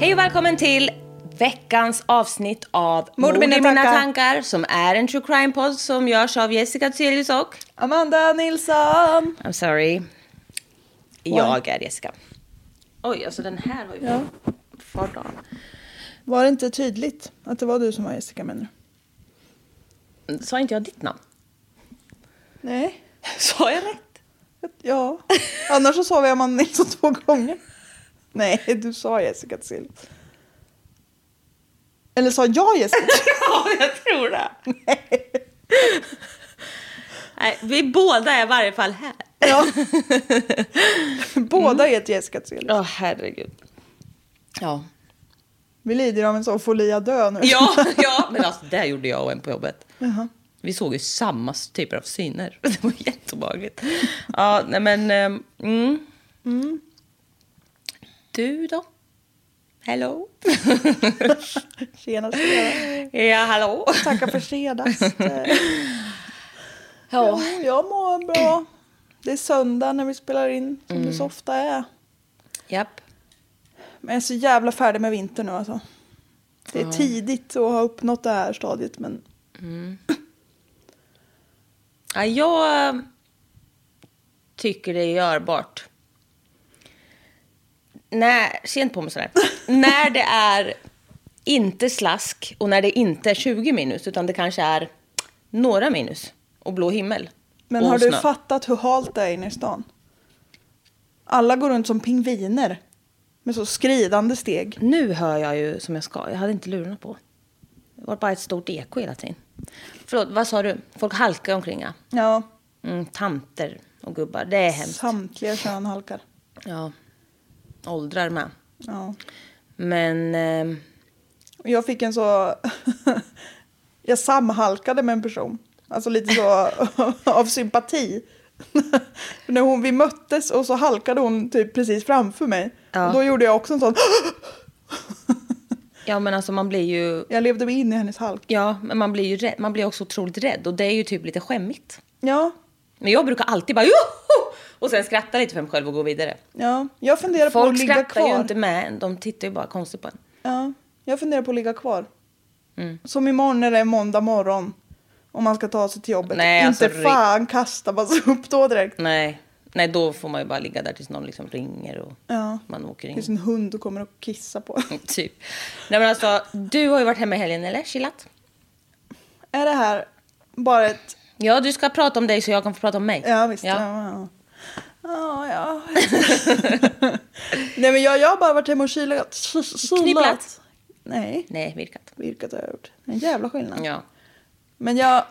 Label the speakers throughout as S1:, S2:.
S1: Hej och välkommen till veckans avsnitt av Mord i mina tankar. som är en true crime-podd som görs av Jessica Thyselius och...
S2: Amanda Nilsson.
S1: I'm sorry. Jag är Jessica. Oj, alltså den här har ju...
S2: Ja.
S1: Fart av.
S2: Var det inte tydligt att det var du som var Jessica menar du?
S1: Sa inte jag ditt namn?
S2: Nej.
S1: Sa jag rätt?
S2: Ja. Annars så sa vi Amanda Nilsson två gånger. Nej, du sa Jessica till. Eller sa jag Jessica till?
S1: Ja, jag tror det. Nej, vi båda är i varje fall här.
S2: Ja. Båda heter Jessica till.
S1: Ja, herregud. Ja.
S2: Vi lider av en sån folia dö nu.
S1: Ja, ja, men alltså det gjorde jag och en på jobbet. Vi såg ju samma typer av syner. Det var jätteobehagligt. Ja, nej men... ehm, Mm. Du då? Hello?
S2: Tjena, tjena.
S1: Ja, hallå?
S2: Tackar för senast.
S1: Ja.
S2: Jag mår bra. Det är söndag när vi spelar in, som det så ofta är.
S1: Japp.
S2: Men jag är så jävla färdig med vintern nu alltså. Det är tidigt att ha uppnått det här stadiet men
S1: Ja, jag eh, tycker det är görbart. När, sent på mig sådär. när det är inte slask och när det inte är 20 minus utan det kanske är några minus och blå himmel.
S2: Men
S1: och
S2: har du
S1: snö.
S2: fattat hur halt det är inne i stan? Alla går runt som pingviner. Med så skridande steg.
S1: Nu hör jag ju som jag ska. Jag hade inte lurarna på. Det var bara ett stort eko hela tiden. Förlåt, vad sa du? Folk halkar omkring, ja.
S2: Ja,
S1: Mm, tanter och gubbar. Det är hemskt.
S2: samtliga kön halkar.
S1: Ja. Åldrar med.
S2: Ja.
S1: Men... ehm,
S2: Och Jag fick en så... jag samhalkade med en person. Alltså lite så av sympati. När hon, vi möttes och så halkade hon typ precis framför mig.
S1: Ja.
S2: Och då gjorde jag också en sån...
S1: Ja, men alltså man blir ju...
S2: jag levde mig in i hennes halk.
S1: Ja, men man blir ju rädd. Man blir också otroligt rädd och det är ju typ lite skämmigt.
S2: Ja,
S1: Men jag brukar alltid bara joho! Och sen skratta lite för mig själv och gå vidare.
S2: ja. Jag funderar på
S1: Folk
S2: att ligga
S1: skrattar
S2: kvar.
S1: ju inte med en. De tittar ju bara konstigt på en.
S2: Ja, jag funderar på att ligga kvar.
S1: Mm.
S2: Som imorgon när det är måndag morgon. Om man ska ta sig till jobbet.
S1: Nej,
S2: inte
S1: alltså, Mm. ri-
S2: fan kasta man sig upp då direkt.
S1: Nej. Nej, då får man ju bara ligga där tills någon liksom ringer och
S2: Ja.
S1: man åker in.
S2: Tills en hund och kommer och kissa på.
S1: Typ. Nej, men alltså, du har ju varit hemma i helgen, eller? Chillat?
S2: är det här bara ett...
S1: Ja, du ska prata om dig så jag kan få prata om mig.
S2: Ja, visst. Ja.
S1: Ja.
S2: Ja, ja. ja. Nej, men jag, jag har bara varit hemma och kylat.
S1: Knipplat?
S2: Nej,
S1: Nej, virkat.
S2: vilket har jag gjort. En jävla skillnad.
S1: Ja.
S2: Men jag,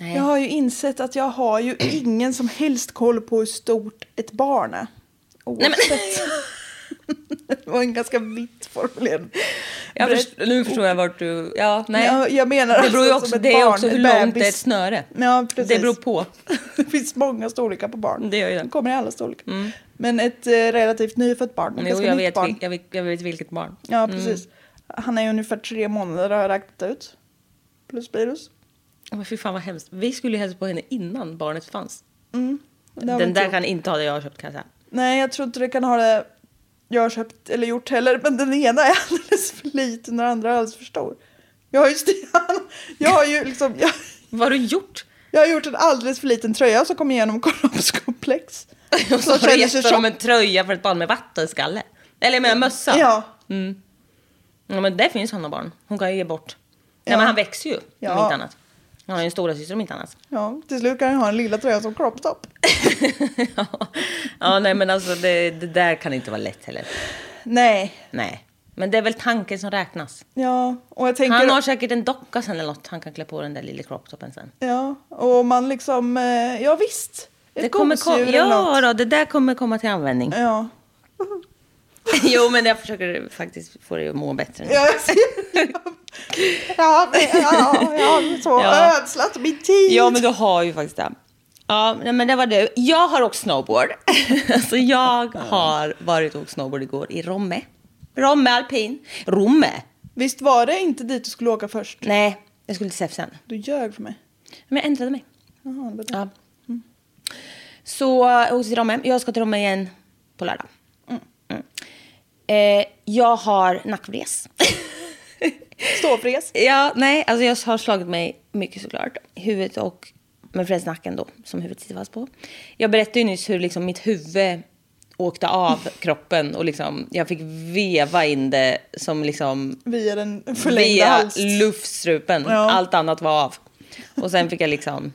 S1: Nej.
S2: jag har ju insett att jag har ju ingen som helst koll på hur stort ett barn är. Oavsett.
S1: Nej, men...
S2: Det var en ganska vitt formulerad.
S1: Jag först, nu förstår jag vart du... Ja, nej.
S2: Ja, jag menar
S1: det beror ju
S2: alltså
S1: också,
S2: som ett
S1: det är
S2: barn,
S1: också hur
S2: ett
S1: långt
S2: bebis.
S1: det är ett snöre.
S2: Ja, precis.
S1: Det beror på.
S2: Det finns många storlekar på barn.
S1: Det gör ju det.
S2: De kommer i alla storlekar. Men ett eh, relativt nyfött barn. ett
S1: Jo,
S2: ganska
S1: jag
S2: nytt
S1: vet, Mm.
S2: barn.
S1: vil- jag, vet, jag vet vilket barn.
S2: Ja, precis. Han är ungefär tre månader har jag räknat ut. Plus minus.
S1: Men fy fan vad hemskt. Vi skulle ju hälsa på henne innan barnet fanns.
S2: Det har vi
S1: Den
S2: inte
S1: där
S2: gjort.
S1: kan inte ha det jag har köpt kan jag säga.
S2: Nej, jag tror inte det kan ha det jag har köpt eller gjort heller. Men den ena är alldeles för liten och den andra är alldeles för stor. Jag har ju, Stian, jag har ju liksom... Jag,
S1: Vad har du gjort?
S2: jag har gjort en alldeles för liten tröja som kom igenom kollapskomplex.
S1: Och så
S2: Som känner sig
S1: retar de
S2: tjock. Mm.
S1: en tröja för ett barn med vattenskalle. Eller jag menar mössa. Mm.
S2: Ja,
S1: Ja, men det finns sådana barn. Hon kan ju ge bort.
S2: Ja.
S1: Nej, men han växer ju, om
S2: Ja.
S1: inte annat. Han har ju en storasyster om inte annat.
S2: ja, till slut kan jag ha en lilla tröja som crop top.
S1: Ja, nej, men alltså det, det där kan inte vara lätt heller.
S2: Nej,
S1: Nej. Men det är väl tanken som räknas.
S2: ja, och jag tänker...
S1: Han har säkert en docka sen eller något han kan klä på den där lilla kroppstoppen sen.
S2: Ja, och man liksom... eh, Ja, visst. Ett
S1: Det kommer kom,
S2: gosedjur eller
S1: ja,
S2: något.
S1: då, det där kommer komma till användning.
S2: Ja.
S1: jo, men jag försöker faktiskt få dig att må bättre nu.
S2: Ja, jag ser- ja, men- ja, jag har så
S1: Ja.
S2: ödslat min tid.
S1: Ja, men du har ju faktiskt det. Ja, nej, men det var det. Jag har åkt snowboard. alltså, jag har varit och åkt snowboard igår i Romme. Romme alpin. Romme?
S2: Visst var det inte dit du skulle åka först?
S1: Nej, jag skulle till Säfsen.
S2: Du ljög för mig.
S1: Men jag ändrade mig.
S2: Jaha, det var det.
S1: Ja. Mm. Så jag åkte till Romme. Jag ska till Romme igen på lördag. Mm. Eh, jag har nackvres.
S2: Ståfräs.
S1: Ja, nej, alltså jag har slagit mig mycket såklart. Huvudet och, men främst nacken då, som huvudet sitter fast på. Jag berättade ju nyss hur liksom mitt huvud åkte av kroppen och liksom, jag fick veva in det som liksom
S2: Via den förlängda
S1: via
S2: hals.
S1: luftstrupen.
S2: Ja.
S1: Allt annat var av. Och sen fick jag liksom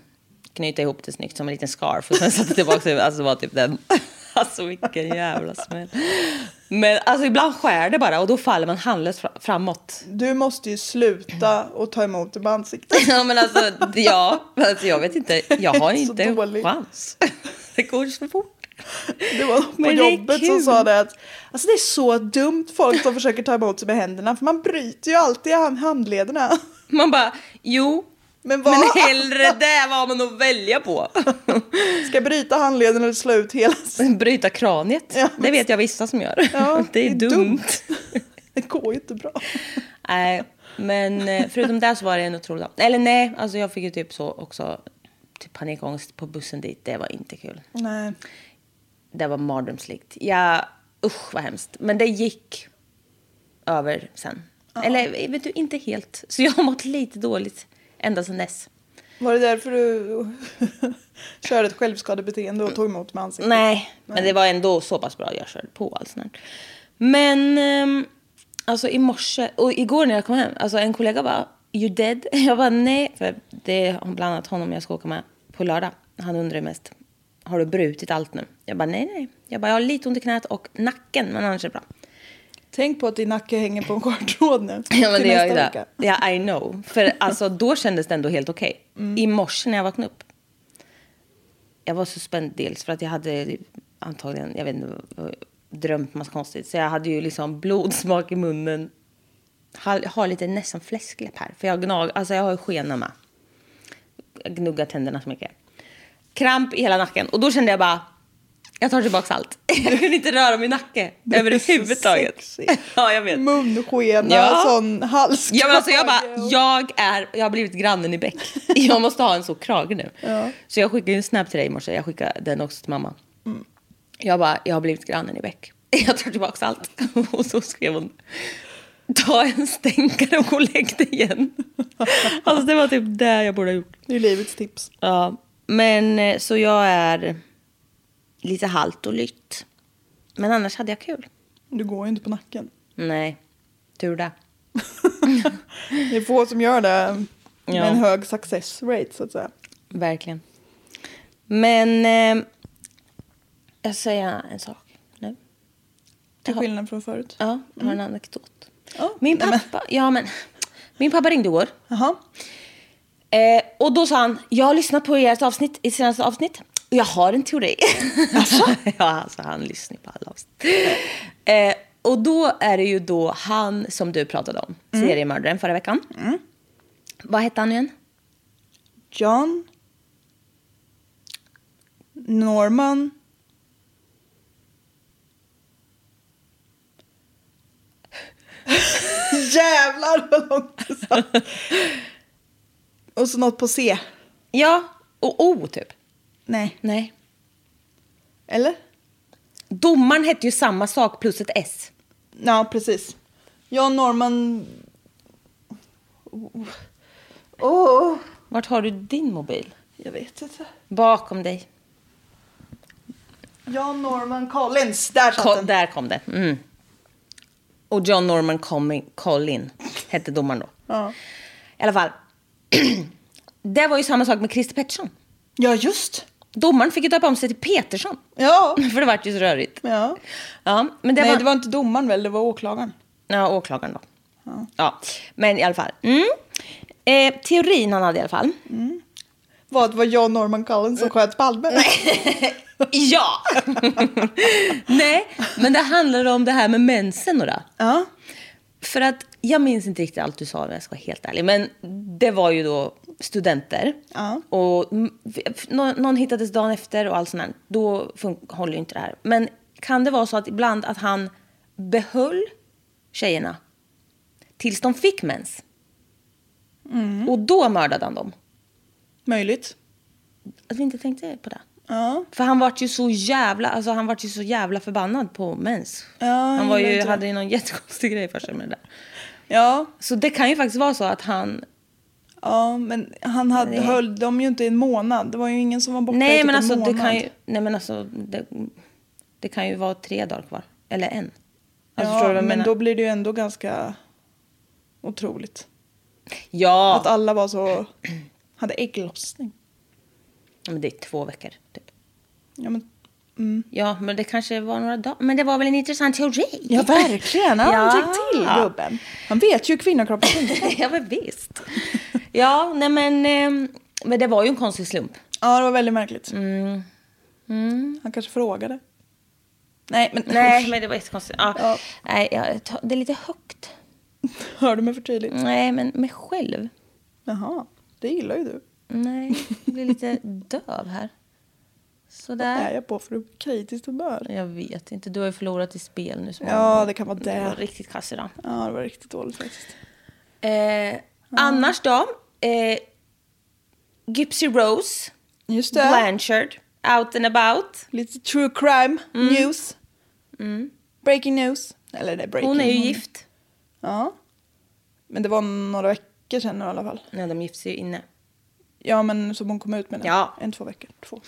S1: knyta ihop det snyggt som en liten scarf och sen satte tillbaka det. Alltså det var typ den. Alltså vilken jävla smäll. Men alltså ibland skär det bara och då faller man handlöst fra- framåt.
S2: Du måste ju sluta och ta emot det med ansiktet.
S1: Ja, men alltså, ja, alltså jag vet inte. Jag har
S2: Så
S1: inte en
S2: dåligt.
S1: chans. Det går så fort.
S2: Det var någon på
S1: Men det är
S2: jobbet
S1: kul.
S2: som sa det att alltså det är så dumt folk som försöker ta emot sig med händerna för man bryter ju alltid hand- handlederna.
S1: Man bara, jo,
S2: Men vad?
S1: men hellre det var man att välja på.
S2: Ska jag bryta handleden eller slå ut hela?
S1: Bryta kraniet,
S2: Ja.
S1: det vet jag vissa som gör.
S2: Ja,
S1: det är,
S2: det är
S1: dumt.
S2: dumt. Det går ju inte bra.
S1: Nej, men eh, förutom det så var det en otrolig dag. Eller nej, alltså jag fick ju typ så också typ panikångest på bussen dit. Det var inte kul.
S2: Nej.
S1: Det var mardrömslikt. Ja, usch vad hemskt. Men det gick över sen. Eller vet du, inte helt. Så jag har mått lite dåligt ända sedan dess.
S2: Var det därför du körde ett självskadebeteende och tog emot med ansiktet?
S1: Nej, men det var ändå så pass bra jag körde på allt sånt här. Men ehm, alltså i morse, och igår när jag kom hem, alltså en kollega bara you dead? Jag bara nej, för det är bland annat honom jag ska åka med på lördag. Han undrar ju mest, har du brutit allt nu? Jag bara nej, nej. Jag bara jag har lite ont i knät och nacken, men annars är det bra.
S2: Tänk på att din nacke hänger på en kortråd nu.
S1: Ja, men
S2: till
S1: det gör
S2: nästa
S1: ju det.
S2: vecka.
S1: Ja, I know. För alltså, då kändes det ändå helt okej.
S2: Mm.
S1: I morse när jag vaknade upp. Jag var så spänd dels för att jag hade antagligen, jag vet inte, drömt massa konstigt. Så jag hade ju liksom blodsmak i munnen. Har, har lite nästan fläskläpp här. För jag gnag, alltså jag har ju skena med. Jag gnuggar tänderna så mycket. Kramp i hela nacken. Och då kände jag bara, jag tar tillbaka allt. Jag kunde inte röra min nacke
S2: Det är så
S1: överhuvudtaget.
S2: sexigt.
S1: Ja, jag vet.
S2: Munskena,
S1: Ja.
S2: sån hals.
S1: Ja, men alltså jag bara, jag, är, jag har blivit grannen i bäck. Jag måste ha en så krage nu. Så jag skickade ju en snap till dig i morse. Jag skickade den också till mamma. Jag bara, jag har blivit grannen i bäck. Jag tar tillbaka allt. Och så skrev hon, ta en stänkare och gå och lägg dig igen. Alltså det var typ det jag borde ha gjort.
S2: Det är ju livets tips.
S1: Ja, men eh, så jag är lite halt och lytt. Men annars hade jag kul.
S2: Du går ju inte på nacken.
S1: Nej, tur det.
S2: Det är få som gör det med
S1: Ja.
S2: en hög success rate så att säga.
S1: Verkligen. Men eh, jag säger en sak nu.
S2: Till
S1: Jaha.
S2: skillnad från förut.
S1: Ja, jag har en anekdot.
S2: Mm. Ja,
S1: Min
S2: nej, men-
S1: pappa, ja, men, min pappa ringde igår.
S2: Jaha.
S1: Eh, och då sa han, jag har lyssnat på ert avsnitt, i senaste avsnitt. alltså, Och jag har en teori. ja, alltså han lyssnar ju på alla avsnitt. Eh, Och då är det ju då han som du pratade om,
S2: Mm.
S1: seriemördaren förra veckan. Vad hette han nu igen?
S2: John. Norman. Jävlar vad långt det satt. Och så något på C.
S1: Ja, och O typ.
S2: Nej.
S1: Nej.
S2: Eller?
S1: Domaren hette ju samma sak plus ett S.
S2: Ja, precis. John Norman... Åh, oh.
S1: Vart har du din mobil?
S2: jag vet inte.
S1: Bakom dig.
S2: John Norman Collins. Där satt
S1: Ko-
S2: den.
S1: där kom det. Mm. Och John Norman Comin- Collin hette domaren då.
S2: Ja.
S1: I alla fall. det var ju samma sak med Christer Pettersson.
S2: ja, just.
S1: Domaren fick ju döpa om sig till Petersson.
S2: Ja.
S1: För det vart ju så rörigt.
S2: ja.
S1: Ja, men det
S2: Nej,
S1: var...
S2: det var inte domaren väl, det var åklagaren.
S1: Ja, åklagaren då. Ja. Men i alla fall. Mm. Eh, teorin han hade i alla fall.
S2: Mm. Vad det var John Norman Collins som sköt Palme?
S1: Ja! Nej, men det handlar om det här med mensen och det.
S2: Ja.
S1: För att jag minns inte riktigt allt du sa om jag ska vara helt ärlig. Men det var ju då studenter.
S2: Ja.
S1: Och mm, f- nå- någon hittades dagen efter och allt sånt där. Då fun- håller ju inte det här. Men kan det vara så att ibland att han behöll tjejerna tills de fick mens?
S2: Mm.
S1: Och då mördade han dem.
S2: Möjligt.
S1: Att vi inte tänkte på det.
S2: Ja.
S1: För han vart ju så jävla, alltså han vart ju så jävla förbannad på mens.
S2: Ja, jag
S1: han var
S2: gillar
S1: ju,
S2: inte det.
S1: hade ju någon jättekonstig grej för sig med det där.
S2: Ja,
S1: Så det kan ju faktiskt vara så att han...
S2: ja men han hade,
S1: Nej.
S2: höll dem ju inte i en månad. Det var ju ingen som var borta i
S1: Nej
S2: typ
S1: men,
S2: en
S1: alltså, det
S2: månad.
S1: kan ju, nej men alltså det, det kan ju vara tre dagar kvar. Eller en. Alltså, förstår
S2: ja,
S1: du vad
S2: men
S1: jag menar?
S2: då blir det ju ändå ganska otroligt.
S1: Ja!
S2: Att alla var så... Hade ägglossning.
S1: Men det är två veckor. Typ.
S2: Ja, men,
S1: Ja men det kanske var några dagar. Men det var väl en intressant teori?
S2: ja verkligen. Han
S1: Ja.
S2: drog till gubben. Han vet ju hur kvinnokroppen funkar.
S1: ja men visst. Ja nej men, ehm, men det var ju en konstig slump.
S2: Ja, det var väldigt märkligt.
S1: Mm.
S2: Han kanske frågade. Nej, men
S1: Nej men det var jättekonstigt. Ja.
S2: Ja.
S1: Nej, jag, tar- det är lite högt.
S2: hör du mig för tydligt?
S1: Nej, men mig själv?
S2: Jaha, det gillar ju du.
S1: Nej, jag blir lite döv här.
S2: Är
S1: Sådär.
S2: jag på för kritiskt humör?
S1: Jag vet inte, du har ju förlorat i spel nu. Som
S2: Ja, det kan vara
S1: det var
S2: det.
S1: riktigt kass idag.
S2: Ja, det var riktigt dåligt faktiskt.
S1: Eh, Annars då? Eh, Gypsy Rose,
S2: Just det.
S1: Blanchard, Out and about.
S2: Lite true crime
S1: Mm.
S2: news. Breaking news. Eller det är breaking.
S1: Hon är ju gift.
S2: Ja. Men det var några veckor sedan nu i alla fall.
S1: Nej, de gifte sig ju inne.
S2: Ja, men som hon kom ut med nu.
S1: Ja.
S2: En, två veckor. Två.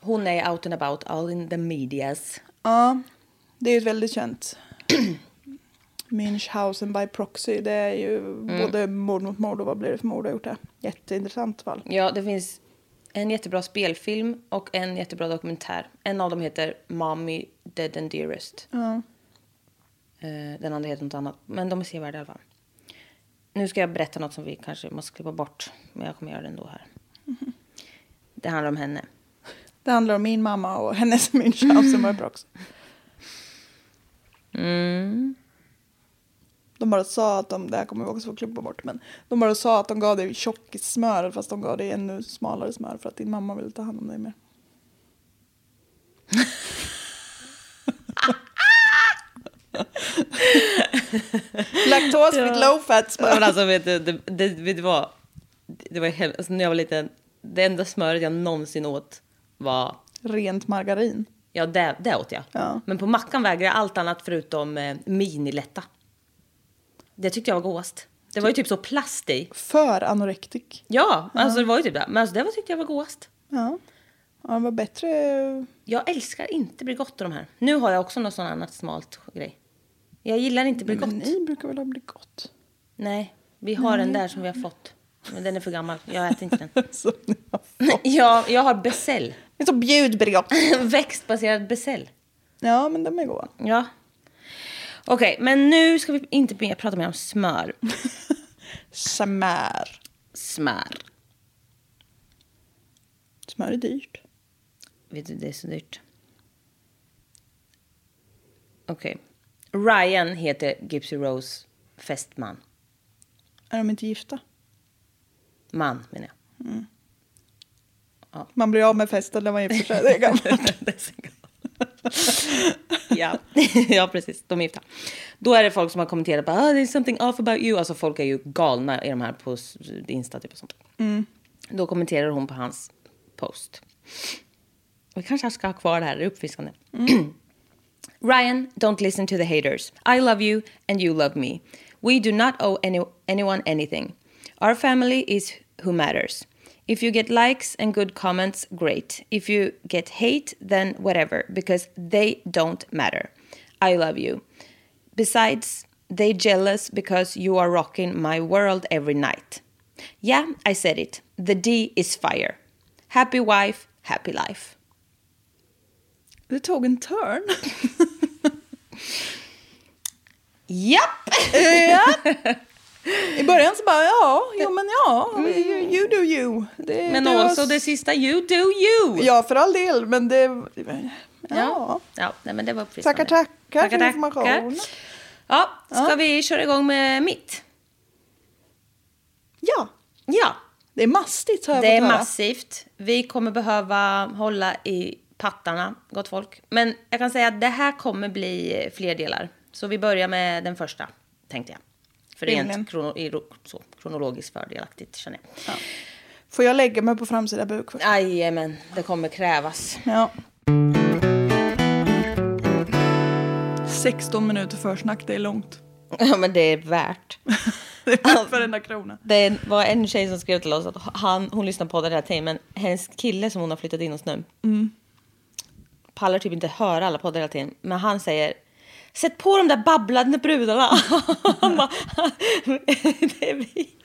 S1: Hon är out and about, all in the medias.
S2: Ja, det är ju ett väldigt känt. Münchhausen by proxy. Det är ju
S1: Mm.
S2: både mord mot mord och vad blir det för mord har gjort det. Jätteintressant fall.
S1: Ja, det finns en jättebra spelfilm och en jättebra dokumentär. En av dem heter Mommy Dead and Dearest.
S2: Ja.
S1: Eh, Den andra heter något annat. Men de är sevärda i alla fall. Nu ska jag berätta något som vi kanske måste klippa bort. Men jag kommer göra det ändå här. Mhm. Det handlar om henne.
S2: Det handlar om min mamma och hennes Münchhausen by proxy.
S1: Mm.
S2: De bara sa att de, det här kommer vi också få klubba bort, men de bara sa att de gav dig tjockissmör fast de gav dig ännu smalare smör för att din mamma ville ta hand om dig mer. Laktosfritt low fat
S1: Ja, Men
S2: smör.
S1: alltså vet du, det, det, vet du vad? Det var helt, alltså, när jag var liten. Det enda smöret jag någonsin åt var
S2: Rent margarin.
S1: Ja, det, det åt jag.
S2: Ja.
S1: Men på mackan vägrade jag allt annat förutom eh, minilätta. Det tyckte jag var godast. Det var ju typ så plast i.
S2: För anorektik.
S1: Ja, alltså det var ju typ det. Men alltså det var, tyckte jag var godast.
S2: Ja. ja, det var bättre.
S1: Jag älskar inte Bregott och de här. Nu har jag också något sån annat smalt grej. Jag gillar inte Bregott.
S2: Men ni brukar väl ha blivit gott?
S1: Nej, vi har en där som vi har fått. Men den är för gammal. Jag äter inte den.
S2: Som ni har
S1: Nej,
S2: fått.
S1: jag, jag har besell.
S2: Det är så bjud Bregott.
S1: Växtbaserad besell.
S2: Ja, men de är goda.
S1: Ja. Okej, men nu ska vi inte mer prata mer om smör.
S2: Smör.
S1: Smör.
S2: Smör är dyrt.
S1: Vet du, det är så dyrt. Okej. Ryan heter Gypsy Rose fästman.
S2: Är de inte gifta?
S1: Man, menar jag.
S2: Man blir av med festen när man gifter sig. Det är gammalt.
S1: Det är så gammalt. ja. ja, precis. De är gifta. Då är det folk som har kommenterat bara, ah, “there's something off about you”. Alltså folk är ju galna i de här på s- Insta typ och sånt. Då kommenterar hon på hans post. Vi kanske ska ha kvar det här, det är uppfriskande. Ryan, don't listen to the haters. I love you and you love me. We do not owe any, anyone anything. Our family is who matters. If you get likes and good comments, great. If you get hate, then whatever, because they don't matter. I love you. Besides, they jealous because you are rocking my world every night. Yeah, I said it. The D is fire. Happy wife, happy life.
S2: Det tog en turn.
S1: Japp!
S2: I början så bara, ja, jo men ja, you, you do you. Det,
S1: Men
S2: det var-
S1: också det sista, you do you!
S2: Ja, för all del, men det... Ja.
S1: Ja, ja nej, men det var precis
S2: Tackar,
S1: som det.
S2: tackar för informationen.
S1: Ja, ska vi köra igång med mitt?
S2: ja,
S1: Ja,
S2: det är mastigt har jag
S1: det är
S2: fått höra.
S1: massivt. Vi kommer behöva hålla i pattarna, gott folk. Men jag kan säga att det här kommer bli fler delar. Så vi börjar med den första, tänkte jag. För
S2: Rimligen.
S1: rent krono, i, ro- så, kronologiskt fördelaktigt, känner jag.
S2: Får jag lägga mig på framsida buk? först?
S1: Jajamän, det kommer krävas.
S2: Ja. 16 minuter försnack, det är långt.
S1: Ja, men det är värt.
S2: Det är
S1: Alltså,
S2: värt varenda krona.
S1: Det var en tjej som skrev till oss att han, hon lyssnar på det hela tiden men hennes kille som hon har flyttat in hos nu pallar typ inte höra alla poddar hela tiden. Men han säger Sätt på de där babblande brudarna. Han bara, det är vi.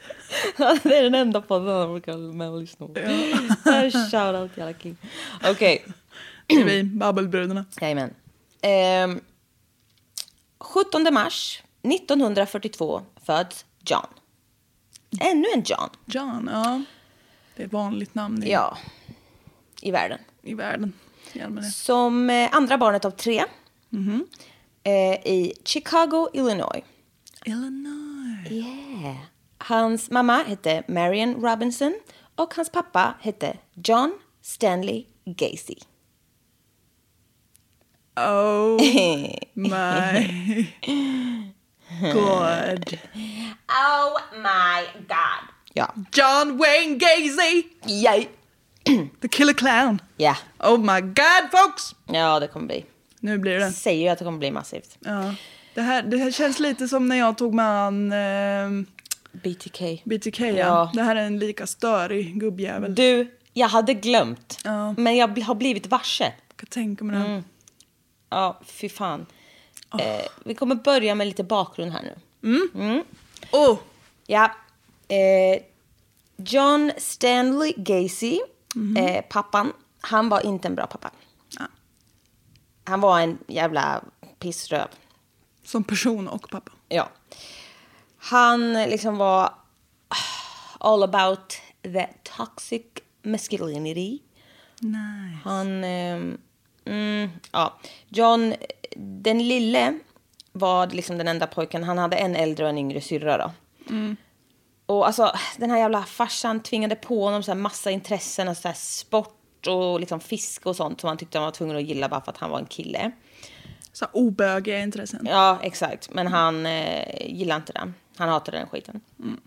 S1: Det är den enda podden han brukar hålla med och lyssna på. Shoutout till alla king. Okej.
S2: Det är vi, Babbelbröderna.
S1: Jajamän. Ehm, 17 mars 1942 föds John. Ännu en John.
S2: John, ja. Det är ett vanligt namn i,
S1: Ja, i världen.
S2: i världen. i allmänhet.
S1: Som eh, andra barnet av tre. Mm-hmm. Eh, I Chicago, Illinois.
S2: Illinois.
S1: Yeah. Hans mamma hette Marion Robinson och hans pappa hette John Stanley Gacy.
S2: Oh
S1: Eh.
S2: my god.
S1: Oh my god. Ja.
S2: John Wayne Gacy!
S1: Yay.
S2: The Killer Clown.
S1: Ja.
S2: Oh my god folks!
S1: Ja, det kommer bli.
S2: Nu blir det.
S1: Säger ju att det kommer bli massivt.
S2: Ja. Det, här, det här känns lite som när jag tog med an eh,
S1: BTK.
S2: BTK.
S1: Ja.
S2: Ja. Det här är en lika störig gubbjävel.
S1: Du, jag hade glömt.
S2: Ja.
S1: Men jag bl- har blivit varse.
S2: Jag kan tänka mig det.
S1: Mm. Ja, fy fan. Eh, vi kommer börja med lite bakgrund här nu.
S2: Oh,
S1: Ja. Eh, John Stanley Gacy, eh, pappan, han var inte en bra pappa.
S2: Ja.
S1: Han var en jävla pissröv.
S2: som person och pappa.
S1: Ja. Han liksom var ah, all about the toxic masculinity.
S2: Nej.
S1: Han... ehm, mm, ja. John, den lille var liksom den enda pojken. Han hade en äldre och en yngre syrra. Då. Och alltså, den här jävla farsan tvingade på honom så här massa intressen och så här sport och liksom fiske och sånt som han tyckte han var tvungen att gilla bara för att han var en kille.
S2: Så här obögiga intressen.
S1: Ja, exakt. Men han eh, gillade inte den. Han hatade den skiten.
S2: Mm.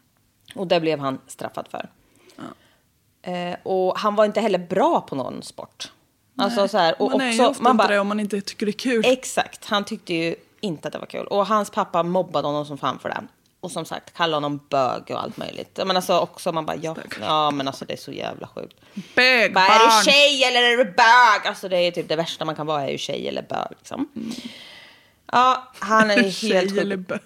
S1: Och det blev han straffad för. Eh, och han var inte heller bra på någon sport. Alltså så här, och
S2: man är ju
S1: också,
S2: ofta
S1: man
S2: inte
S1: bara,
S2: det om man inte tycker det är kul.
S1: Exakt, han tyckte ju inte att det var kul. Och hans pappa mobbade honom som fan för det. Och som sagt, kallade honom bög och allt möjligt. Men alltså också, man bara ja, ja men alltså det är så jävla sjukt.
S2: Bög,
S1: Bara, är du
S2: barn!
S1: tjej eller är du bög? Alltså det är typ det värsta man kan vara är ju tjej eller bög liksom. Ja, han är ju helt
S2: Tjej
S1: sjuk.
S2: eller bög.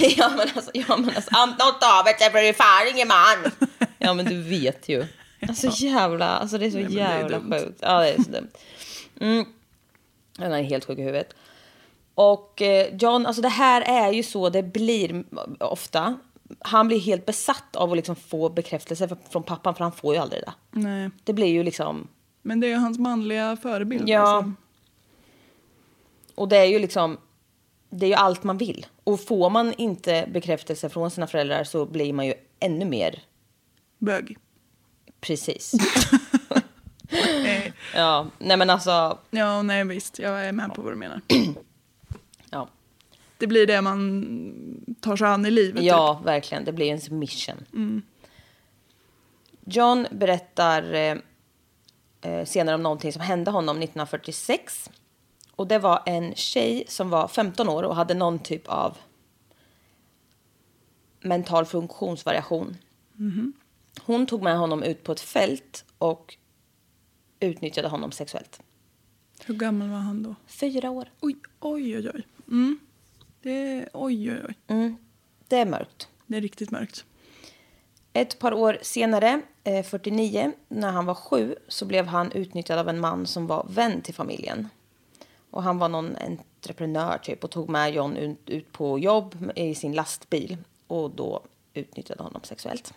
S1: ja men alltså, ja men alltså, "Ant något av ett, jag blir fan ingen man. Ja men du vet ju. Alltså jävla, alltså det är så
S2: men det är
S1: jävla
S2: dumt.
S1: sjukt. Ja det är så dumt. Mm. Han är helt sjuk i huvudet. Och eh, John, alltså det här är ju så det blir ofta. Han blir helt besatt av att liksom få bekräftelse för- från pappan för han får ju aldrig det.
S2: Nej.
S1: Det blir ju liksom
S2: Men liksom. det är ju hans manliga förebild.
S1: Ja.
S2: Alltså.
S1: Och det är ju liksom det är ju allt man vill. Och får man inte bekräftelse från sina föräldrar så blir man ju ännu mer
S2: Bög.
S1: precis. ja, nej men alltså,
S2: Ja, nej visst, jag är med på vad du menar.
S1: ja,
S2: Det blir det man tar sig an i livet. typ.
S1: ja verkligen. Det blir ens mission. John berättar eh, eh, senare om någonting som hände honom 1946. Och det var en tjej som var 15 år och hade någon typ av mental funktionsvariation. Hon tog med honom ut på ett fält och utnyttjade honom sexuellt.
S2: typ. Hur gammal var han då?
S1: Fyra år.
S2: Oj, oj, oj, oj. Mm. Det är, oj, oj, oj.
S1: Det är mörkt.
S2: Det är riktigt mörkt.
S1: Ett par år senare, eh, 49, när han var sju så blev han utnyttjad av en man som var vän till familjen. Och han var någon entreprenör typ och tog med John ut, ut på jobb i sin lastbil och då utnyttjade honom sexuellt.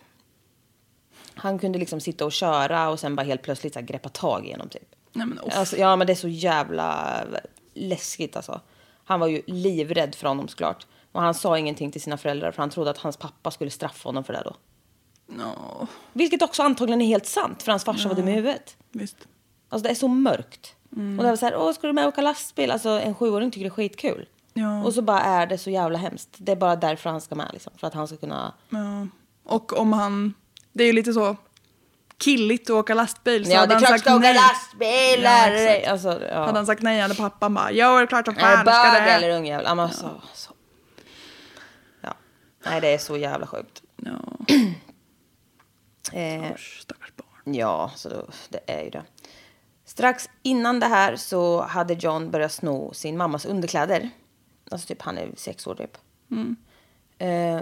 S1: Han kunde liksom sitta och köra och sen bara helt plötsligt så här, greppa tag i honom typ.
S2: Nej men off.
S1: Alltså, ja, men det är så jävla läskigt alltså. Han var ju livrädd för honom såklart. Och han sa ingenting till sina föräldrar för han trodde att hans pappa skulle straffa honom för det då.
S2: Ja,
S1: Vilket också antagligen är helt sant för hans farsa var dum i huvudet.
S2: visst.
S1: Alltså det är så mörkt.
S2: Mm.
S1: Och det var så här, åh ska du med och åka lastbil? Alltså en sjuåring tycker det är skitkul.
S2: Ja.
S1: Och så bara är det så jävla hemskt. Det är bara därför han ska med liksom. För att han ska kunna...
S2: Ja. Och om han... Det är ju lite så killigt att åka lastbil. Så
S1: ja det är
S2: hade han
S1: klart
S2: sagt
S1: ska åka
S2: nej. Ja,
S1: lastbilar!
S2: exakt.
S1: alltså, ja.
S2: Hade han sagt nej hade pappan bara ja det är klart som
S1: Är det
S2: fan ska
S1: bög
S2: det.
S1: eller ungjävel? Ja, men alltså, så. ja. Nej, det är så jävla sjukt.
S2: Ja,
S1: Eh,
S2: usch, stackars barn.
S1: ja, så då, det är ju det. Strax innan det här så hade John börjat sno sin mammas underkläder. Alltså typ, han är sex år typ. Eh,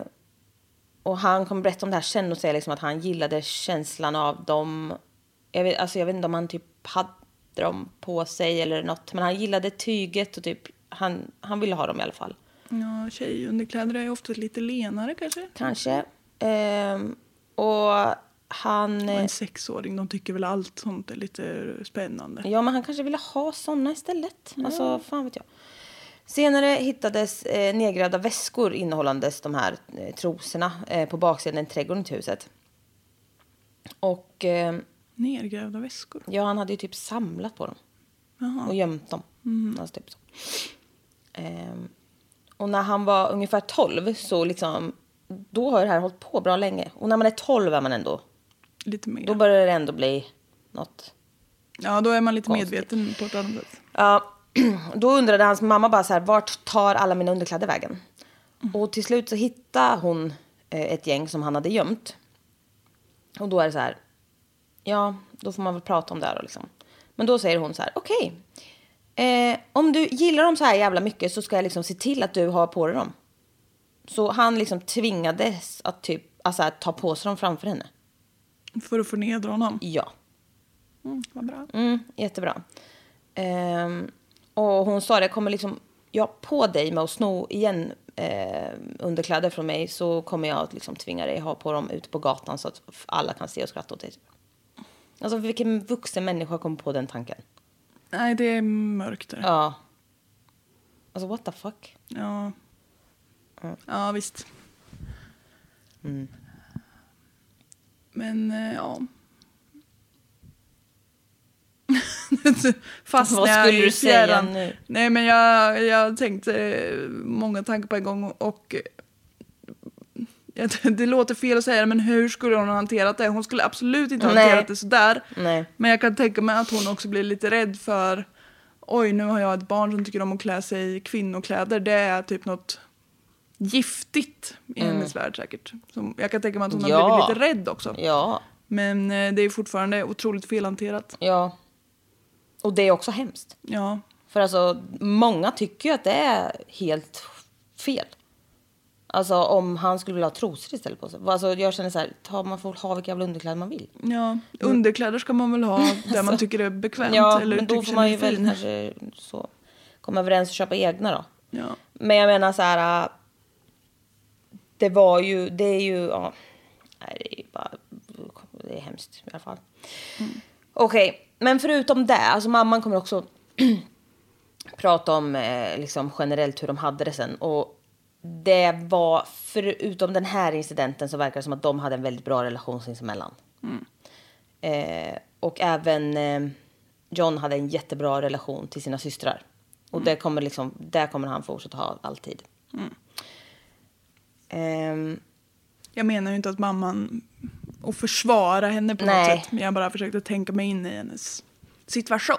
S1: och han kommer berätta om det här sen och säga liksom att han gillade känslan av dem. Jag vet, alltså jag vet inte om han typ hade dem på sig eller något. Men han gillade tyget och typ, han, han ville ha dem i alla fall.
S2: Ja, tjejunderkläder är ju ofta lite lenare kanske.
S1: Kanske. Ehm, och han...
S2: Och en sexåring, de tycker väl allt sånt är lite spännande.
S1: Ja, men han kanske ville ha såna istället. Alltså, fan vet jag. Senare hittades eh, nedgrävda väskor innehållandes de här eh, trosorna eh, på baksidan i trädgården till huset. Och eh,
S2: Nergrävda väskor.
S1: ja, han hade ju typ samlat på dem och gömt dem. Alltså, typ så. Ehm, och när han var ungefär 12 så liksom, då har det här hållit på bra länge. Och när man är 12 är man ändå
S2: Lite mer.
S1: Då börjar det ändå bli något.
S2: ja, då är man lite
S1: Konstigt.
S2: medveten på ett annat sätt.
S1: Ja, då undrade hans mamma bara så här, vart tar alla mina underkläder vägen? Och till slut så hittade hon eh, ett gäng som han hade gömt. Och då är det så här, ja, då får man väl prata om det här då, liksom. Men då säger hon så här, okej, eh, om du gillar dem så här jävla mycket så ska jag liksom se till att du har på dig dem. Så han liksom tvingades att typ, alltså att ta på sig dem framför henne.
S2: För att förnedra honom.
S1: Ja.
S2: Mm, vad bra.
S1: Mm, jättebra. Ehm, och hon sa det, kommer liksom jag på dig med att sno igen eh, underkläder från mig så kommer jag att liksom tvinga dig ha på dem ute på gatan så att f- alla kan se och skratta åt dig. Alltså vilken vuxen människa kom på den tanken?
S2: Nej, det är mörkt där. Ja.
S1: Ja. Alltså what the fuck?
S2: Ja, visst.
S1: Mm.
S2: Men, eh, ja. Fastnade
S1: Vad
S2: jag
S1: skulle
S2: i
S1: du säga
S2: fjärran.
S1: nu?
S2: Nej, men jag, jag tänkte eh, många tankar på en gång och eh, jag t- det låter fel att säga det, men hur skulle hon ha hanterat det? Hon skulle absolut inte ha
S1: Nej.
S2: hanterat det sådär.
S1: Nej.
S2: Men jag kan tänka mig att hon också blir lite rädd för oj, nu har jag ett barn som tycker om att klä sig i kvinnokläder. Det är typ något giftigt i hennes värld säkert. Som, jag kan tänka mig att hon har
S1: Mm. Ja.
S2: blivit lite rädd också.
S1: Ja,
S2: Men eh, det är fortfarande otroligt felhanterat.
S1: ja. Och det är också hemskt.
S2: Ja,
S1: För alltså, många tycker ju att det är helt fel. Alltså om han skulle vilja ha trosor istället på sig. Alltså jag känner så här, ta, man får ha vilka jävla underkläder man vill.
S2: ja. underkläder ska man väl ha där man tycker det är bekvämt.
S1: Ja,
S2: eller
S1: men då
S2: tycker
S1: får man
S2: sig
S1: ju väl
S2: fin.
S1: kanske så, komma överens och köpa egna då.
S2: Ja.
S1: Men jag menar så här, äh, det var ju, det är ju, ja. Nej, det är ju bara, det är hemskt i alla fall. Okej, men förutom det, alltså mamman kommer också prata om eh, liksom generellt hur de hade det sen. Och det var, förutom den här incidenten, så verkar det som att de hade en väldigt bra relation sinsemellan. Eh, och även eh, John hade en jättebra relation till sina systrar. Och det kommer liksom, där kommer han fortsätta ha alltid. Ehm,
S2: Jag menar ju inte att mamman och försvara henne på
S1: Nej.
S2: något sätt. Men jag bara försökte tänka mig in i hennes situation.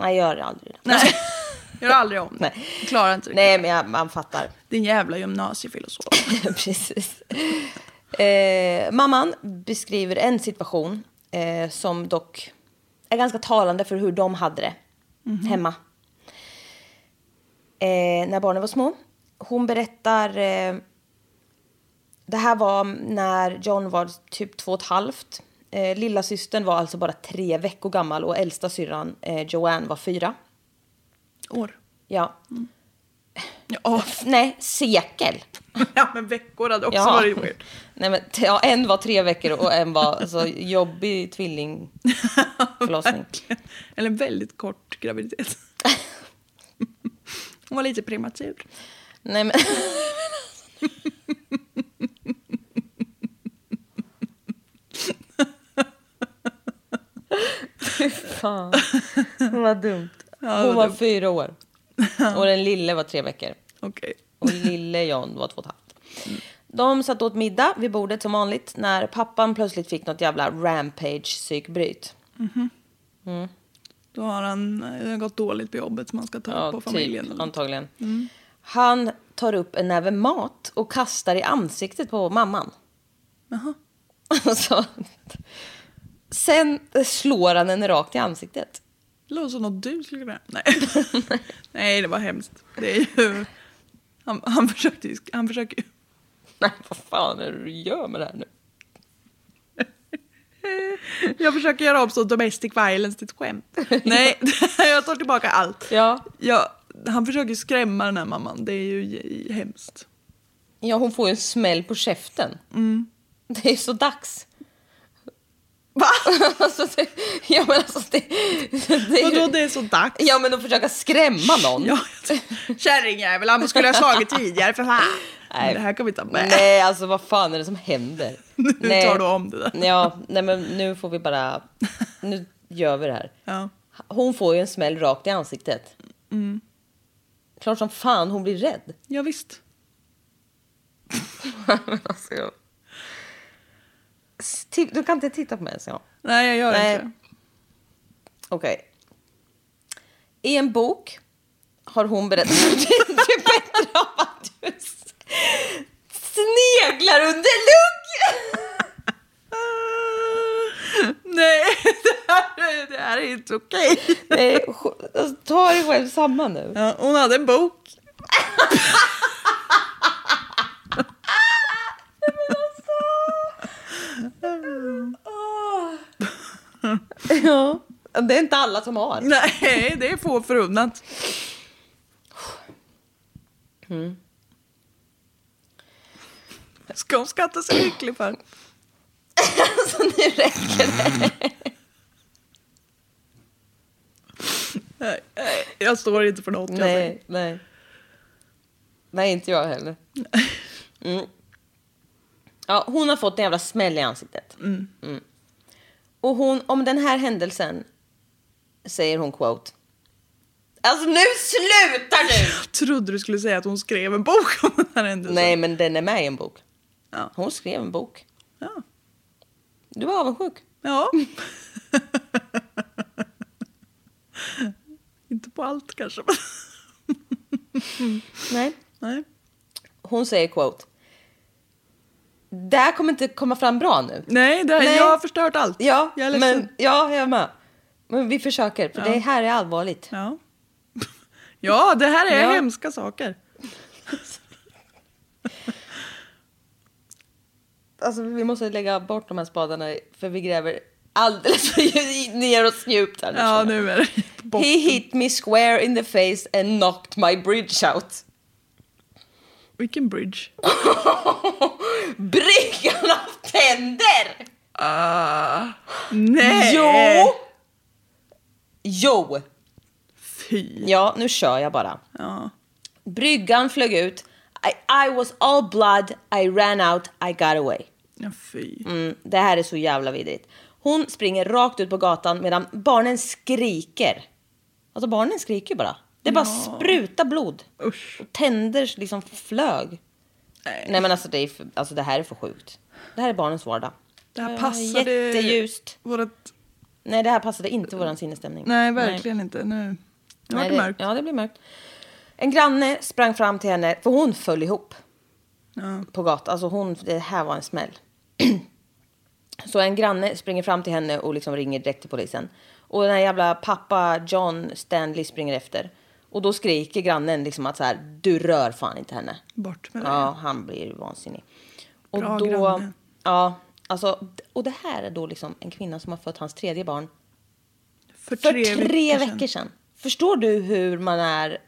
S1: nej, gör aldrig det.
S2: Nej, gör aldrig om.
S1: Nej.
S2: Jag Klarar inte riktigt.
S1: Nej, men jag, man fattar.
S2: Din jävla gymnasiefilosof.
S1: Precis. Eh, mamman beskriver en situation eh, som dock är ganska talande för hur de hade det hemma. Eh, när barnen var små. Hon berättar... Eh, det här var när John var typ två och ett halvt. Eh, lilla systern var alltså bara tre veckor gammal och äldsta syrran eh, Joanne var fyra.
S2: År.
S1: Ja.
S2: Ja,
S1: Nej, sekel.
S2: ja, men veckor hade också
S1: Ja.
S2: varit weird.
S1: Nej, men, t- ja, en var tre veckor och en var alltså, jobbig tvillingförlossning.
S2: Eller en väldigt kort graviditet. Hon var lite prematur.
S1: Nej, men... Fy fan, vad dumt. Hon var fyra år och den lille var tre veckor.
S2: Okej.
S1: Och lille John var två och ett halvt. De satt åt middag vid bordet som vanligt när pappan plötsligt fick något jävla rampage-psykbryt.
S2: Då har han eh, gått dåligt på jobbet som han ska ta på familjen.
S1: Typ,
S2: eller något. Mm.
S1: antagligen. Han tar upp en näve mat och kastar i ansiktet på mamman.
S2: Jaha.
S1: Alltså, sen slår han henne rakt i ansiktet.
S2: Det låter som något du skulle kunna Nej. Nej, det var hemskt. Det är ju... Han, han försökte ju... Han försöker ju...
S1: Nej, vad fan är det du gör med det här nu?
S2: Jag försöker göra om så domestic violence till ett skämt. Nej, jag tar tillbaka allt.
S1: Ja.
S2: Jag, han försöker ju skrämma den här mamman. Det är ju j- hemskt.
S1: Ja, hon får ju en smäll på käften. Det är så dags.
S2: Mm. Va?
S1: Alltså, det, ja, men alltså, det, det är
S2: Vadå,
S1: ju,
S2: det är så dags?
S1: Ja, men att försöka skrämma någon.
S2: Ja, Kärringjävel, han skulle ha slagit tidigare för fan. Nej. Det här kan vi ta med.
S1: Nej, alltså vad fan är det som händer?
S2: Nu
S1: nej.
S2: tar du om det där.
S1: Ja, nej men nu får vi bara... Nu gör vi det här.
S2: Ja. Mm.
S1: Hon får ju en smäll rakt i ansiktet. Klart som fan hon blir rädd.
S2: Ja, visst.
S1: Alltså, jag... S- ti- Du kan inte titta på mig ens en gång.
S2: Nej, jag gör
S1: Nej.
S2: inte det.
S1: Okej. I en bok har hon berättat... det är bättre av att du s- sneglar under lugg!
S2: Nej, det här, är- det här är inte okej.
S1: Nej, sj- alltså, ta dig själv samman nu.
S2: Ja, hon hade en bok.
S1: Ja. Det är inte alla som har.
S2: Nej, det är få förunnat.
S1: Mm.
S2: Ska hon skatta sig lycklig för?
S1: Så nu räcker det.
S2: Nej, nej, jag står inte för något. jag säger.
S1: Nej, nej. Nej, inte jag heller. Mm. Ja, hon har fått en jävla smäll i ansiktet. Mm. Och hon, om den här händelsen säger hon quote. Alltså nu slutar du!
S2: Jag trodde du skulle säga att hon skrev en bok om den här händelsen.
S1: Nej, men den är med i en bok.
S2: Ja.
S1: Hon skrev en bok.
S2: Ja.
S1: Du var avundsjuk.
S2: Ja. Inte på allt kanske. men-
S1: Nej.
S2: Nej.
S1: Hon säger quote. Det här kommer inte komma fram bra nu.
S2: Nej, det,
S1: Nej.
S2: jag har förstört allt.
S1: Ja,
S2: jag är ledsen.
S1: men, ja, jag med. Men vi försöker, för det här är allvarligt.
S2: Ja. ja, det här är
S1: Ja.
S2: hemska saker.
S1: Alltså, vi måste lägga bort de här spadarna, för vi gräver alldeles för djupt ner oss djupt här
S2: Ja,
S1: känner jag.
S2: nu är det på botten.
S1: He hit me square in the face and knocked my bridge out.
S2: Vilken bridge.
S1: Bryggan av tänder!
S2: Nej!
S1: Jo! Jo!
S2: fy.
S1: Ja, nu kör jag bara. Bryggan flög ut. I, I was all blood, I ran out, I got away.
S2: Ja, fy.
S1: Mm, det här är så jävla vidrigt. Hon springer rakt ut på gatan medan barnen skriker. Alltså barnen skriker bara. Det bara sprutar blod.
S2: Usch.
S1: Och tänder liksom flög. Nej, men alltså det, är för, alltså det här är för sjukt. Det här är barnens vardag.
S2: Det
S1: Ja,
S2: här passade...
S1: Jätteljust.
S2: Vårat...
S1: Nej, det här passade inte våran sinnesstämning.
S2: Nej, verkligen inte. Nu, nu var
S1: Nej,
S2: det mörkt.
S1: Ja, det blir mörkt. En granne sprang fram till henne, för hon föll ihop
S2: Ja.
S1: på gatan. Alltså hon, det här var en smäll. Så en granne springer fram till henne och liksom ringer direkt till polisen. Och den här jävla pappa John Stanley springer efter. Och då skriker grannen liksom att så här, du rör fan inte henne.
S2: Bort med det.
S1: Ja, han blir vansinnig. Och
S2: Bra
S1: då,
S2: granne.
S1: Ja, alltså, och det här är då liksom en kvinna som har fött hans tredje barn
S2: För
S1: för tre, veckor, sedan. Förstår du hur man är?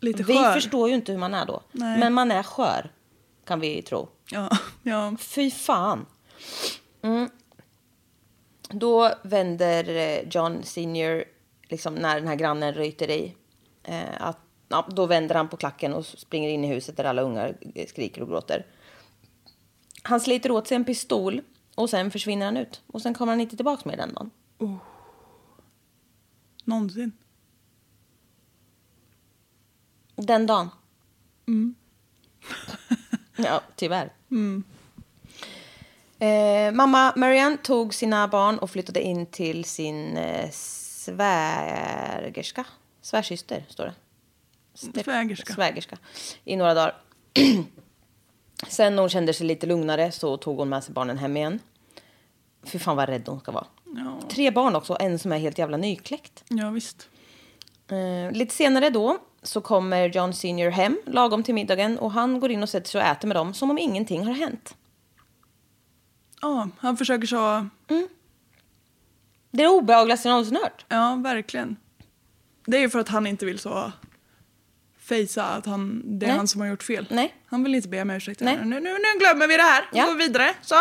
S2: Lite
S1: vi
S2: skör.
S1: förstår ju inte hur man är då.
S2: Nej.
S1: Men man är skör, kan vi tro.
S2: Ja, ja.
S1: Fy fan. Mm. Då vänder eh, John senior, liksom när den här grannen ryter i, eh, att, ja, då vänder han på klacken och springer in i huset där alla ungar eh, skriker och gråter. Han sliter åt sig en pistol och sen försvinner han ut. Och sen kommer han inte tillbaka med den dagen.
S2: Någonsin.
S1: Den dagen.
S2: Mm.
S1: ja, tyvärr. Eh, mamma Marianne tog sina barn och flyttade in till sin eh, svärgerska. Svärsyster, står det. Ste-
S2: Svägerska.
S1: Svägerska. I några dagar. Sen när hon kände sig lite lugnare så tog hon med sig barnen hem igen. Fy fan vad rädd hon ska vara.
S2: Ja.
S1: Tre barn också, en som är helt jävla nykläckt.
S2: ja, visst.
S1: Eh, lite senare då så kommer John Senior hem lagom till middagen och han går in och sätter sig och äter med dem som om ingenting har hänt.
S2: Ja, han försöker så...
S1: Det är det obehagligaste jag någonsin hört.
S2: Ja, verkligen. Det är ju för att han inte vill så... Fejsa att han, det är
S1: Nej.
S2: han som har gjort fel.
S1: Nej.
S2: Han vill inte be om ursäkt.
S1: Nej.
S2: Nu, nu, nu glömmer vi det här och
S1: Ja.
S2: går vidare. Så.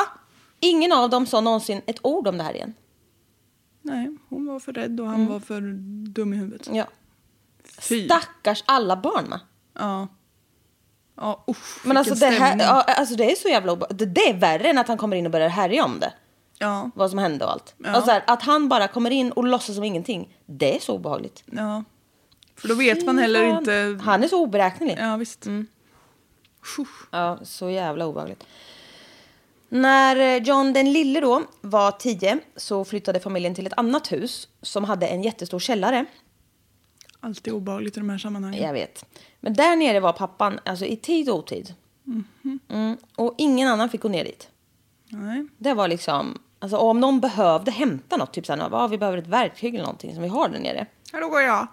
S1: Ingen av dem sa någonsin ett ord om det här igen.
S2: Nej, hon var för rädd och han
S1: Mm.
S2: var för dum i huvudet.
S1: Ja.
S2: Fy.
S1: Stackars alla barn va?
S2: Ja. Ja, usch,
S1: Men alltså det,
S2: vilken
S1: här,
S2: stämning.
S1: ja, alltså det är så jävla obe- det, det är värre än att han kommer in och börjar härja om det.
S2: ja.
S1: Vad som hände och allt.
S2: Ja.
S1: Alltså så här, att han bara kommer in och låtsas som ingenting. Det är så obehagligt.
S2: Ja. För då vet man heller
S1: Fan.
S2: inte...
S1: Han är Mm. så oberäknelig.
S2: Ja, visst. Tjo.
S1: Ja, så jävla obehagligt. När eh, John den lille då var tio så flyttade familjen till ett annat hus som hade en jättestor källare.
S2: Alltid obehagligt i de här sammanhangen.
S1: Jag vet. Men där nere var pappan alltså i tid och otid. Mm. Och ingen annan fick gå ner dit.
S2: Nej.
S1: Det var liksom... Alltså om någon behövde hämta något, typ såhär, ah, vi behöver ett verktyg eller någonting som vi har där nere.
S2: Här då går jag.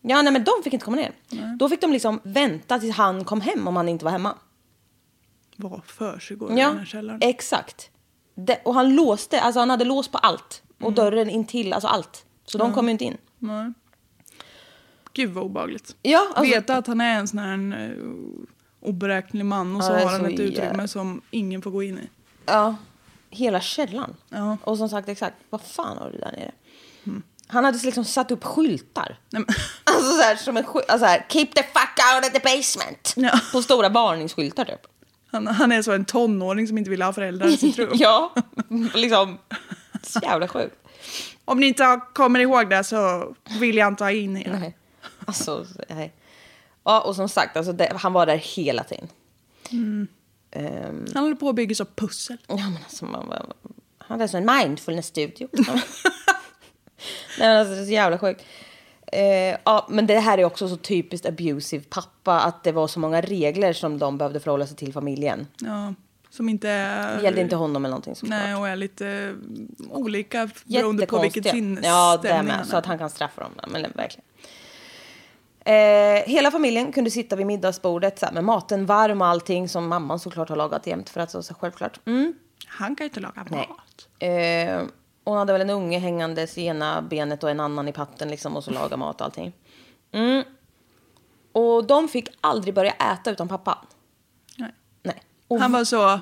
S1: Ja, nej men de fick inte komma ner. Då fick de liksom vänta tills han kom hem om han inte var hemma.
S2: Vad försiggår i
S1: Ja,
S2: den här källaren?
S1: exakt. Det, och han låste, alltså han hade lås på allt. Och
S2: Mm.
S1: dörren intill, alltså allt. Så de kom ju inte in.
S2: Nej. Gud vad obehagligt.
S1: Ja, alltså-
S2: Veta att han är en sån här en, eh, oberäknelig man och så
S1: Ja, det är
S2: har han
S1: så
S2: ett utrymme
S1: jävla-
S2: som ingen får gå in i.
S1: Ja. Hela källaren.
S2: Ja. Mm.
S1: Och som sagt, exakt, vad fan har du där nere? Han hade liksom satt upp skyltar.
S2: Nej, men,
S1: Alltså så här, som en skylt, alltså så här, keep the fuck out of the basement.
S2: Ja.
S1: På stora varningsskyltar typ.
S2: han, han är så en tonåring som inte vill ha föräldrar i sitt rum.
S1: ja, liksom. Så jävla sjukt.
S2: Om ni inte har- kommer ihåg det så vill jag inte ha in er.
S1: Nej. Alltså, nej. Ja, och som sagt, alltså, det, han var där hela tiden.
S2: Mm.
S1: Ehm,
S2: Han håller på och bygger så pussel.
S1: Ja, men alltså, man, man, han hade alltså en mindfulness-studio. Nej, men alltså, det är så jävla sjukt. Eh, ja, men det här är också så typiskt abusive pappa att det var så många regler som de behövde förhålla sig till familjen.
S2: Ja, som inte är...
S1: Det gällde inte honom eller någonting såklart.
S2: Nej, och är lite eh, olika beroende på vilket
S1: Jättekonstiga.
S2: sinnesstämning
S1: Ja, det är
S2: han är.
S1: med. Så att han kan straffa dem. Men verkligen. Eh, hela familjen kunde sitta vid middagsbordet så här, med maten varm och allting som mamman såklart har lagat jämt för att så, så självklart. Mm.
S2: Han kan ju inte laga mat.
S1: Eh, hon hade väl en unge hängandes i ena benet och en annan i patten liksom och så laga mat och allting. Mm. Och de fick aldrig börja äta utan pappa.
S2: Nej.
S1: Nej. Och
S2: Han var så...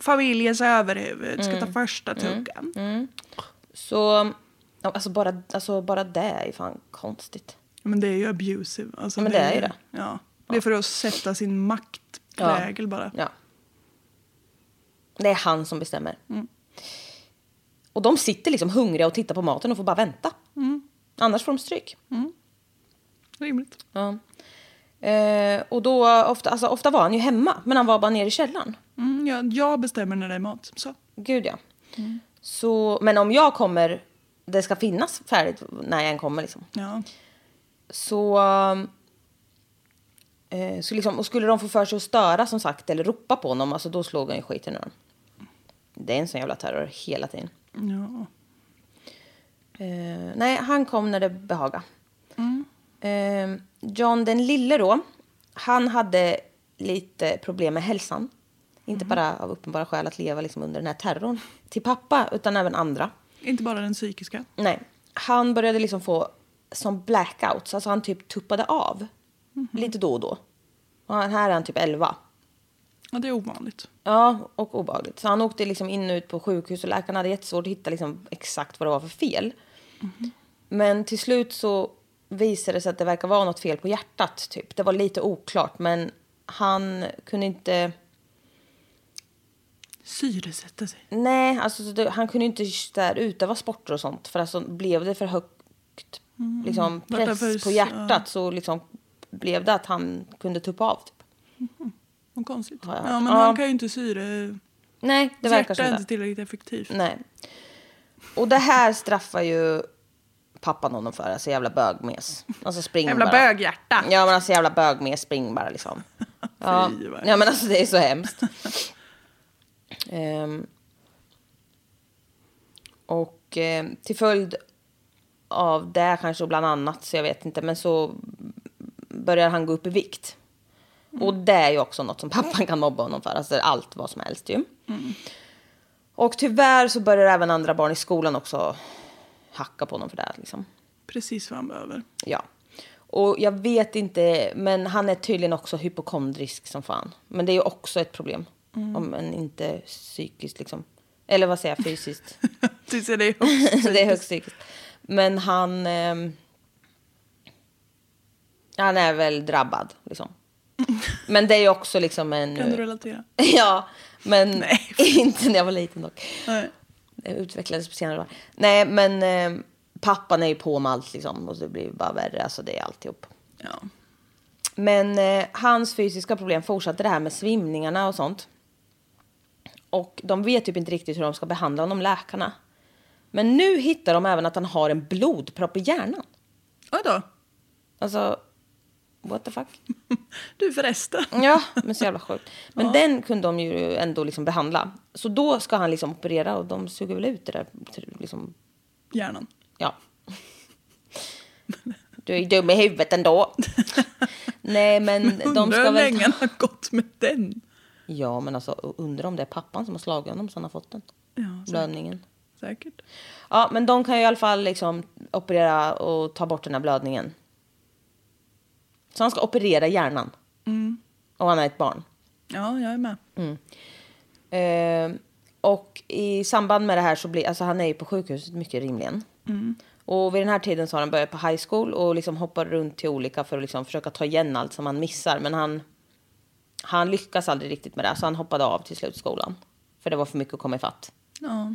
S2: Familjens överhuvud ska
S1: Mm.
S2: ta första tuggan.
S1: Så, ja, alltså bara, alltså bara det är ju fan konstigt.
S2: Men det är ju abusive. Alltså,
S1: Ja, men det är ju det.
S2: Ja. Det är för att sätta sin maktprägel bara.
S1: Ja. Det är han som bestämmer.
S2: Mm.
S1: Och de sitter liksom hungriga och tittar på maten och får bara vänta.
S2: Mm.
S1: Annars får de stryk.
S2: Rimligt.
S1: Ja. Eh, och då, ofta, alltså, ofta var han ju hemma, men han var bara nere i källaren.
S2: Mm, ja, jag bestämmer när det är mat. Så.
S1: Gud ja. Så, men om jag kommer, det ska finnas färdigt när jag än kommer liksom.
S2: Ja.
S1: Så, eh, så liksom, och skulle de få för sig att störa som sagt eller ropa på honom, alltså då slog han ju skiten ur dem. Det är en sån jävla terror hela tiden.
S2: ja.
S1: Eh, nej, han kom när det behagade. Eh, John den lille då, han hade lite problem med hälsan. Inte bara av uppenbara skäl att leva liksom under den här terrorn till pappa, utan även andra.
S2: Inte bara den psykiska.
S1: Nej, han började liksom få som blackouts, alltså han typ tuppade av lite då och då. Och han- här är han typ 11.
S2: Ja, det är ovanligt.
S1: Ja, och obehagligt. Så han åkte liksom in och ut på sjukhus och läkarna hade jättesvårt att hitta liksom exakt vad det var för fel. Men till slut så visade det sig att det verkar vara något fel på hjärtat. Typ. Det var lite oklart, men han kunde inte...
S2: Syresätta sig.
S1: Nej, alltså så det, han kunde inte så där, utöva sporter och sånt. För alltså blev det för högt liksom,
S2: Vart det
S1: press
S2: för-
S1: på hjärtat så liksom blev det att han kunde tuppa av. Typ.
S2: Vad konstigt.
S1: Ja,
S2: Ja,
S1: ja.
S2: men
S1: Ja.
S2: han kan ju inte syre...
S1: Nej, det
S2: Hjärta
S1: verkar som
S2: är
S1: det.
S2: inte tillräckligt effektivt.
S1: Nej. Och det här straffar ju pappan honom för. Alltså jävla bögmes. Alltså spring
S2: Jävla
S1: bara.
S2: böghjärta.
S1: Ja men alltså jävla bögmes, spring bara liksom. Ja.
S2: Fy, vad
S1: ja men alltså det är så hemskt. Ehm. och ehm, till följd av det kanske och bland annat, så jag vet inte, men så börjar han gå upp i vikt.
S2: Mm.
S1: Och det är ju också något som pappan kan mobba honom för, alltså allt vad som helst ju.
S2: Mm.
S1: Och tyvärr så börjar även andra barn i skolan också hacka på honom för det. här, Liksom.
S2: Precis vad han behöver.
S1: Ja. Och jag vet inte, men han är tydligen också hypokondrisk som fan. Men det är ju också ett problem.
S2: Mm.
S1: Om en inte psykiskt liksom. Eller vad säger jag, fysiskt.
S2: Tills jag det är högst.
S1: det är högst psykiskt. Men han... ehm, han är väl drabbad liksom. Men det är ju också liksom en...
S2: Kan du relatera?
S1: Ja, men
S2: Nej.
S1: inte när jag var liten dock.
S2: Nej.
S1: Det utvecklades på senare år. Nej, men eh, pappan är ju på med allt liksom. Och det blir bara värre. Alltså det är alltihop.
S2: Ja.
S1: Men eh, hans fysiska problem fortsatte det här med svimningarna och sånt. Och de vet typ inte riktigt hur de ska behandla honom, läkarna. Men nu hittar de även att han har en blodpropp i hjärnan.
S2: Oj då.
S1: Alltså, what the fuck?
S2: Du förresten.
S1: Ja, men så jävla sjukt. Men den kunde de ju ändå liksom behandla. Så då ska han liksom operera och de suger väl ut det där liksom,
S2: Hjärnan.
S1: ja. Du är ju dum i huvudet ändå. Nej, men Mm, de
S2: Undrar
S1: ska
S2: hur
S1: väl...
S2: länge han har gått med den.
S1: Ja, men alltså undrar om det är pappan som har slagit honom så han har fått den.
S2: Ja, säkert.
S1: Blödningen.
S2: säkert.
S1: Ja, men de kan ju i alla fall liksom operera och ta bort den här blödningen. Så han ska operera hjärnan.
S2: Mm.
S1: Och han är ett barn.
S2: Ja, jag är med.
S1: Eh, och i samband med det här så blir, alltså han är ju på sjukhuset mycket rimligen.
S2: Mm.
S1: Och vid den här tiden så har han börjat på high school och liksom hoppar runt till olika för att liksom försöka ta igen allt som han missar. Men han, han lyckas aldrig riktigt med det, så han hoppade av till slut skolan. För det var för mycket att komma ifatt.
S2: Ja.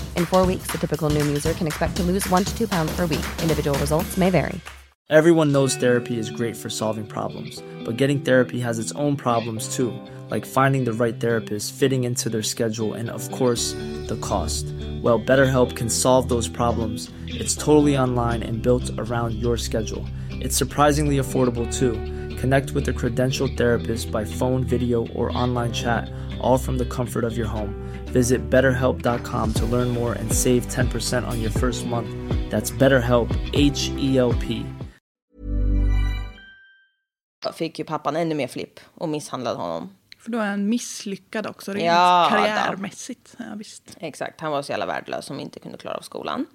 S3: In four weeks, the typical Noom user can expect to lose one to two pounds per week. Individual results may vary.
S4: Everyone knows therapy is great for solving problems, but getting therapy has its own problems too, like finding the right therapist, fitting into their schedule, and of course, the cost. Well, BetterHelp can solve those problems. It's totally online and built around your schedule. It's surprisingly affordable too. Connect with a credentialed therapist by phone, video, or online chat, all from the comfort of your home. Visit betterhelp.com to learn more and save 10% on your first month. That's BetterHelp, H E L P.
S1: då fick ju pappan ännu mer flipp och misshandlade honom.
S2: För då är han misslyckad också rent
S1: Ja, då.
S2: karriärmässigt. Ja, visst.
S1: Exakt, han var så jävla värdelös som inte kunde klara av skolan.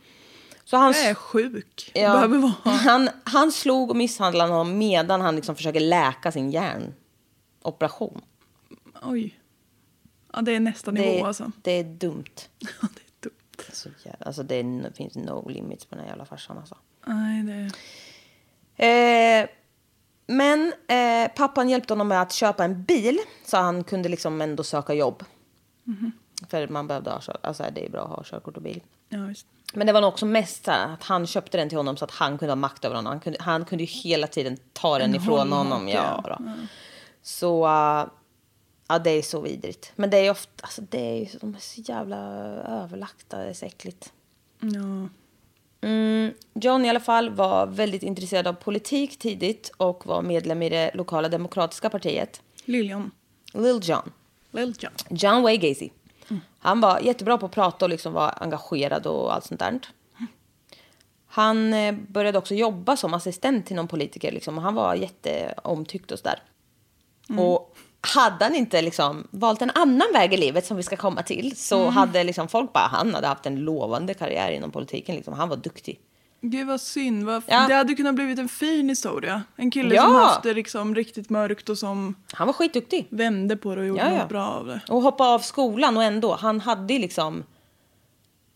S1: Så han,
S2: Jag är sjuk.
S1: Ja.
S2: Behöver vara.
S1: Han, han slog och misshandlade honom medan han liksom försöker läka sin hjärnoperation.
S2: Oj. Ja, det är nästa
S1: Det,
S2: nivå alltså.
S1: det är dumt.
S2: Ja, det är dumt.
S1: Så jävla, alltså det är, finns no limits på den här jävla farsan. Alltså.
S2: Nej, det...
S1: Eh, men eh, pappan hjälpte honom med att köpa en bil så han kunde liksom ändå söka jobb.
S2: Mhm.
S1: För man behövde ha kör, alltså det är bra att ha körkort och bil.
S2: Ja, visst.
S1: Men det var nog också mest så här, att han köpte den till honom så att han kunde ha makt över honom. Han kunde, han kunde ju hela tiden ta den ifrån honom. ja, Mm. då. Så, äh, ja det är så vidrigt. Men det är ju ofta, alltså det är ju, de är så jävla överlagda, det är så äckligt.
S2: Ja.
S1: John i alla fall var väldigt intresserad av politik tidigt och var medlem i det lokala demokratiska partiet.
S2: Liljon.
S1: Lil John.
S2: Lil John.
S1: John Wayne Gacy. Han var jättebra på att prata och liksom var engagerad och allt sånt där. Han eh, började också jobba som assistent till någon politiker liksom, och han var jätteomtyckt och sådär. Och hade han inte liksom valt en annan väg i livet som vi ska komma till så hade liksom folk bara, han hade haft en lovande karriär inom politiken liksom. Han var duktig.
S2: Gud vad synd. Vad...
S1: Ja.
S2: Det hade kunnat blivit en fin historia. En kille
S1: Ja.
S2: som haft det liksom riktigt mörkt och som
S1: Han var skitduktig.
S2: vände på det och gjorde
S1: Ja, ja.
S2: något bra av det.
S1: Och hoppa av skolan och ändå, han hade ju liksom...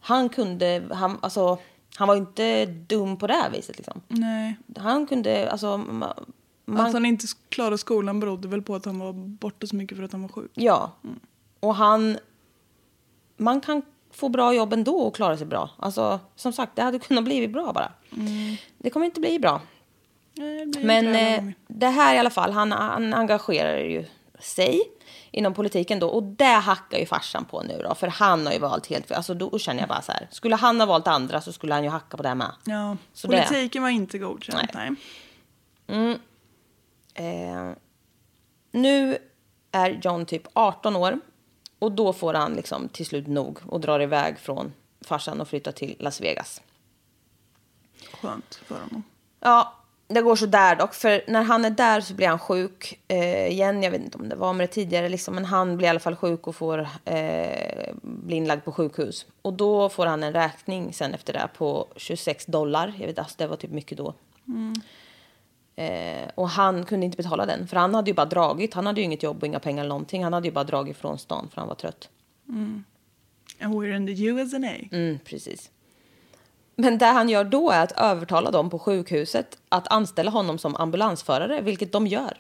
S1: Han kunde, han, alltså, han var ju inte dum på det här viset liksom.
S2: Nej.
S1: Han kunde, alltså... ma- Man,
S2: Att han inte klarade skolan berodde väl på att han var borta så mycket för att han var sjuk.
S1: Ja. Och han... Man kan få bra jobb ändå och klara sig bra. Alltså, som sagt, det hade kunnat bli bra bara. Det kommer inte bli bra.
S2: Nej, det blir
S1: Men
S2: inte det alla
S1: eh,
S2: gånger.
S1: det här i alla fall, han, han engagerar ju sig inom politiken då. Och det hackar ju farsan på nu då, för han har ju valt helt fel. Alltså då känner jag bara så här, skulle han ha valt andra så skulle han ju hacka på det här med.
S2: Ja.
S1: så det-
S2: Politiken var inte godkänd. Nej.
S1: Eh, nu är John typ 18 år och då får han liksom till slut nog och drar iväg från farsan och flyttar till Las Vegas.
S2: Skönt för honom.
S1: Ja, det går så där dock. För när han är där så blir han sjuk eh, igen. Jag vet inte om det var med det tidigare, liksom, men han blir i alla fall sjuk och får eh, bli inlagd på sjukhus. Och då får han en räkning sen efter det här på 26 dollar. Jag vet, alltså, det var typ mycket då. Eh, och han kunde inte betala den, för han hade ju bara dragit. Han hade ju inget jobb och inga pengar eller någonting. Han hade ju bara dragit från stan för han var trött.
S2: And we're in the USA.
S1: Mm, precis. Men det han gör då är att övertala dem på sjukhuset att anställa honom som ambulansförare, vilket de gör.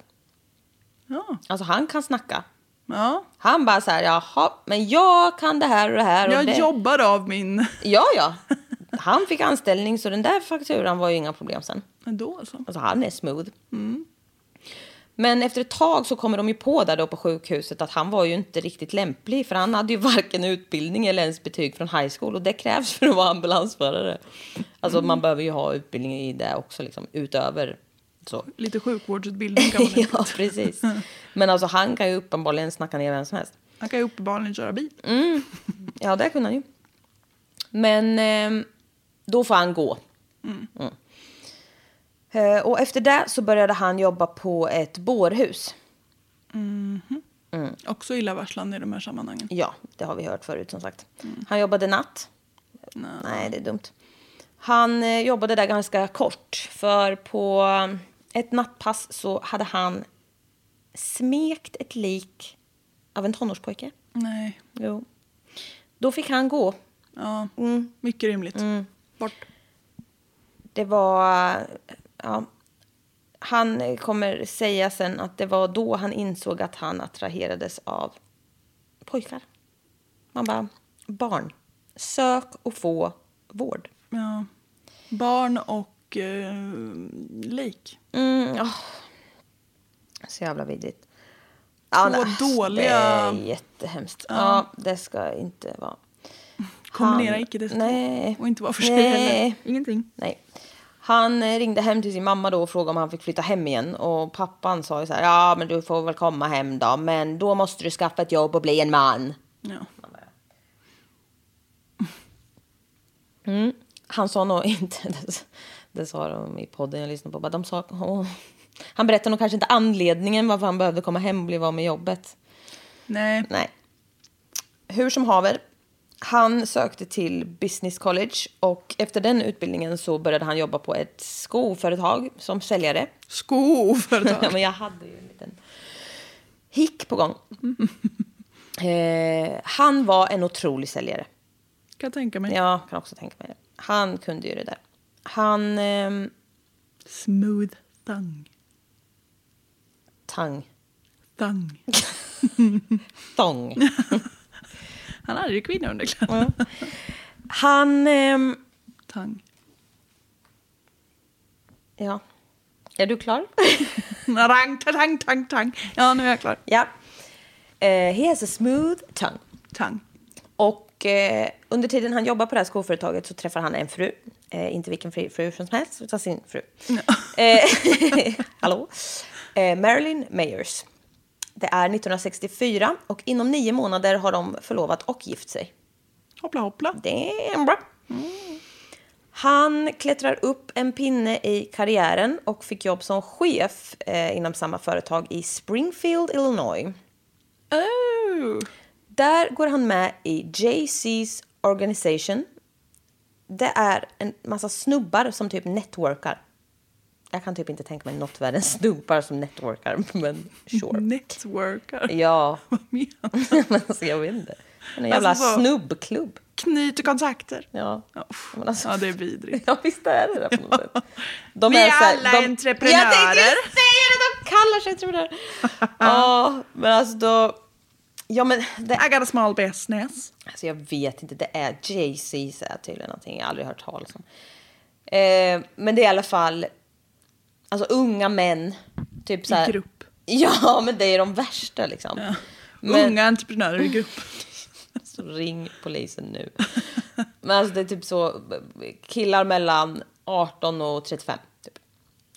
S2: Ja.
S1: Alltså han kan snacka.
S2: ja.
S1: Han bara så här, jaha, men jag kan det här och det här. Och
S2: Jag
S1: det.
S2: jobbar av min...
S1: Ja, ja. Han fick anställning så den där fakturan var ju inga problem sen.
S2: Ändå alltså.
S1: Alltså han är smooth. Men efter ett tag så kommer de ju på där då på sjukhuset att han var ju inte riktigt lämplig för han hade ju varken utbildning eller ens betyg från high school och det krävs för att vara ambulansförare. Alltså man behöver ju ha utbildning i det också liksom utöver så.
S2: Lite sjukvårdsutbildning kan man ju.
S1: ja, precis. Men alltså han kan ju uppenbarligen snacka ner vem som helst.
S2: Han kan ju uppenbarligen köra bil.
S1: Ja, det kunde han ju. Men ehm, då får han gå. Mm. Eh, och efter det så började han jobba på ett bårhus.
S2: Också illavarslande i de här sammanhangen.
S1: Ja, det har vi hört förut som sagt. Han jobbade natt. Nej, det är dumt. Han eh, jobbade där ganska kort, för på eh, ett nattpass så hade han smekt ett lik av en tonårspojke.
S2: Nej.
S1: Jo. Då fick han gå
S2: Ja.
S1: Mm.
S2: Mycket rimligt. Bort.
S1: det var... Ja, han kommer säga sen att det var då han insåg att han attraherades av pojkar. Man bara, barn. Sök och få vård.
S2: Ja. Barn och eh, lik.
S1: Mm, åh. Så jävla vidrigt. Ja,
S2: Två
S1: nej, Det
S2: dåliga-
S1: är jättehemskt. Ja. det ska inte vara.
S2: Kombinera
S1: Han-
S2: icke desto.
S1: Nej.
S2: Och inte vara för sig
S1: Nej.
S2: heller. Ingenting.
S1: Nej. Han eh, ringde hem till sin mamma då och frågade om han fick flytta hem igen. Och pappan sa ju så här, ja men du får väl komma hem då, men då måste du skaffa ett jobb och bli en man.
S2: Ja.
S1: Han sa nog inte, det, det sa de i podden jag lyssnade på, bara de sa, hon, Han berättar nog kanske inte anledningen varför han behövde komma hem och bli av med jobbet.
S2: Nej.
S1: Nej. Hur som haver. Han sökte till Business College och efter den utbildningen så började han jobba på ett skoföretag som säljare.
S2: Skoföretag.
S1: Ja, men jag hade ju en liten hick på gång. eh, han var en otrolig säljare.
S2: Kan jag tänka mig.
S1: Ja, kan också tänka mig det. Han kunde ju det där. Han... ehm,
S2: Smooth thang.
S1: tang.
S2: Thang.
S1: Tång.
S2: Han hade ju kvinnounderkläder.
S1: Han... ehm,
S2: Tang.
S1: ja. Är du klar?
S2: Rang, tang, tang, tang. Ja, nu är jag klar.
S1: ja. Eh, he has a smooth tongue.
S2: Tang.
S1: Och eh, under tiden han jobbar på det här skoföretaget så träffar han en fru. Eh, inte vilken fri, fru som helst, utan sin fru. eh, hallå? Eh, Marilyn Mayers. Det är 1964 och inom nio månader har de förlovat och gift sig.
S2: Hoppla, hoppla.
S1: Det är bra. Han klättrar upp en pinne i karriären och fick jobb som chef eh, inom samma företag i Springfield, Illinois.
S2: Oh.
S1: Där går han med i JC's Organization. Det är en massa snubbar som typ networkar. Jag kan typ inte tänka mig något värre än snubbar som networkar, men sure.
S2: Networkar.
S1: Ja,
S2: Vad menar du?
S1: men alltså jag vet inte. En jävla
S2: Alltså så-
S1: snubbklubb.
S2: Knyter kontakter.
S1: Ja.
S2: Ja, uff.
S1: Men alltså-
S2: ja, det är vidrigt.
S1: Ja, visst är det det på något sätt. De
S2: Vi är
S1: så här-
S2: alla entreprenörer.
S1: Jag tänkte just säga det, de kallar sig entreprenörer. Ja, men alltså då... Ja, men det,
S2: I got a small business.
S1: alltså jag vet inte, det är JC är tydligen någonting jag aldrig hört talas om. Eh, men det är i alla fall alltså unga män. Typ så här,
S2: grupp.
S1: Ja, men det är de värsta liksom. Men-
S2: Unga entreprenörer i grupp.
S1: Så ring polisen nu. Men alltså det är typ så killar mellan 18 och 35. Typ.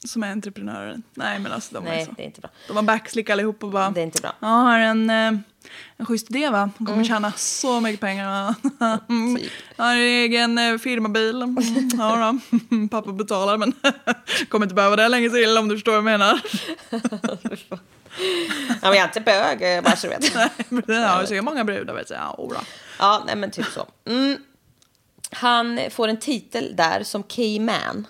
S2: Som är entreprenörer. Nej, men alltså de är
S1: Nej,
S2: så.
S1: det är inte bra.
S2: De har backslick allihop och bara...
S1: Det är inte bra. Mm.
S2: Jag har en, eh, en schysst idé va? De kommer tjäna så mycket pengar. va? Mm.
S1: Typ.
S2: Jag har en egen eh, firmabil. Mm, Ja, då. Pappa betalar men kommer inte behöva det länge till om du förstår vad jag menar.
S1: Ja, men jag är inte bög, eh, bara så du vet.
S2: Men Jag har så många brudar vet du. Ja, ora.
S1: Ja, nej men typ så. Mm. Han får en titel där som key man.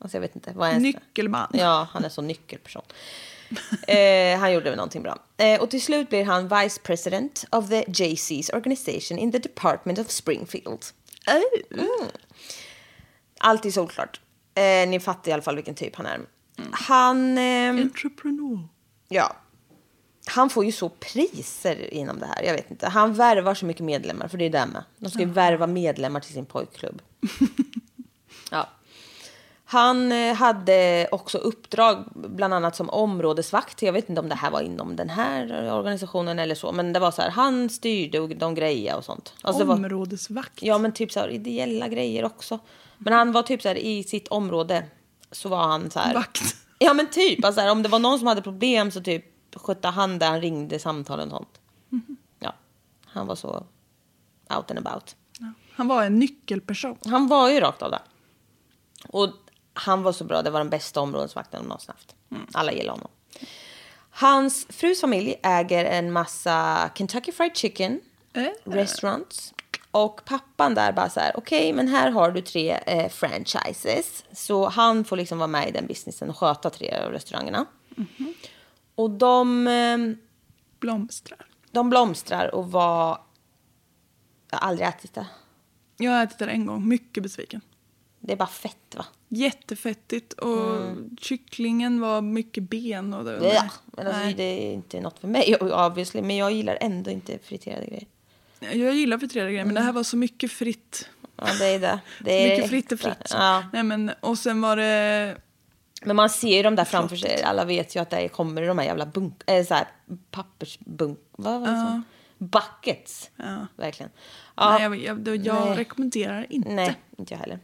S1: Alltså jag vet inte, vad är det?
S2: Nyckelman.
S1: Ja, han är så nyckelperson. Eh, han gjorde väl någonting bra. Eh, och till slut blir han vice president of the JC's organization in the department of Springfield. Mm. Allt är solklart. Eh, ni fattar i alla fall vilken typ han är. Han... ehm,
S2: Entreprenör.
S1: Ja. Han får ju så priser inom det här. Jag vet inte. Han värvar så mycket medlemmar, för det är det med. De ska ju värva medlemmar till sin pojkklubb. ja. Han eh, hade också uppdrag, bland annat som områdesvakt. Jag vet inte om det här var inom den här organisationen eller så, men det var så här. Han styrde och de grejer och sånt. Alltså, det var-
S2: Områdesvakt.
S1: Ja, men typ så här ideella grejer också. Men han var typ så här i sitt område så var han så här.
S2: Vakt.
S1: Ja, men typ. Alltså, här, om det var någon som hade problem så typ skötte han det. Han ringde samtalen och sånt. Ja, han var så out and about.
S2: Han var en nyckelperson.
S1: Han var ju rakt av där. Och han var så bra. Det var den bästa områdesvakten de någonsin haft. Alla gillar honom. Hans frus familj äger en massa Kentucky Fried Chicken
S2: Eh.
S1: restaurants. Och pappan där bara så här, okej, men här har du tre eh, franchises. Så han får liksom vara med i den businessen och sköta tre av restaurangerna. Och de... ehm,
S2: Blomstrar.
S1: de blomstrar och var... Jag har aldrig ätit det.
S2: Jag har ätit det en gång. Mycket besviken.
S1: Det är bara fett, va?
S2: Jättefettigt och kycklingen var mycket ben. Och det,
S1: Mm. Ja. Men alltså,
S2: Nej.
S1: det är inte något för mig, obviously. Men jag gillar ändå inte friterade grejer.
S2: Jag gillar friterade grejer men det här var så mycket fritt.
S1: Ja, det är det. Mm. det
S2: Så
S1: är
S2: mycket fritt är
S1: äkta.
S2: fritt.
S1: Ja.
S2: Nej, men, och sen var det...
S1: Men man ser ju de där framför sig. Alla vet ju att det kommer i de här jävla bunk... Äh, så här, pappersbunk... Vad var det som? Buckets. Verkligen. Ja.
S2: Nej, jag jag, det- jag
S1: Nej.
S2: rekommenderar inte.
S1: Nej, inte jag heller.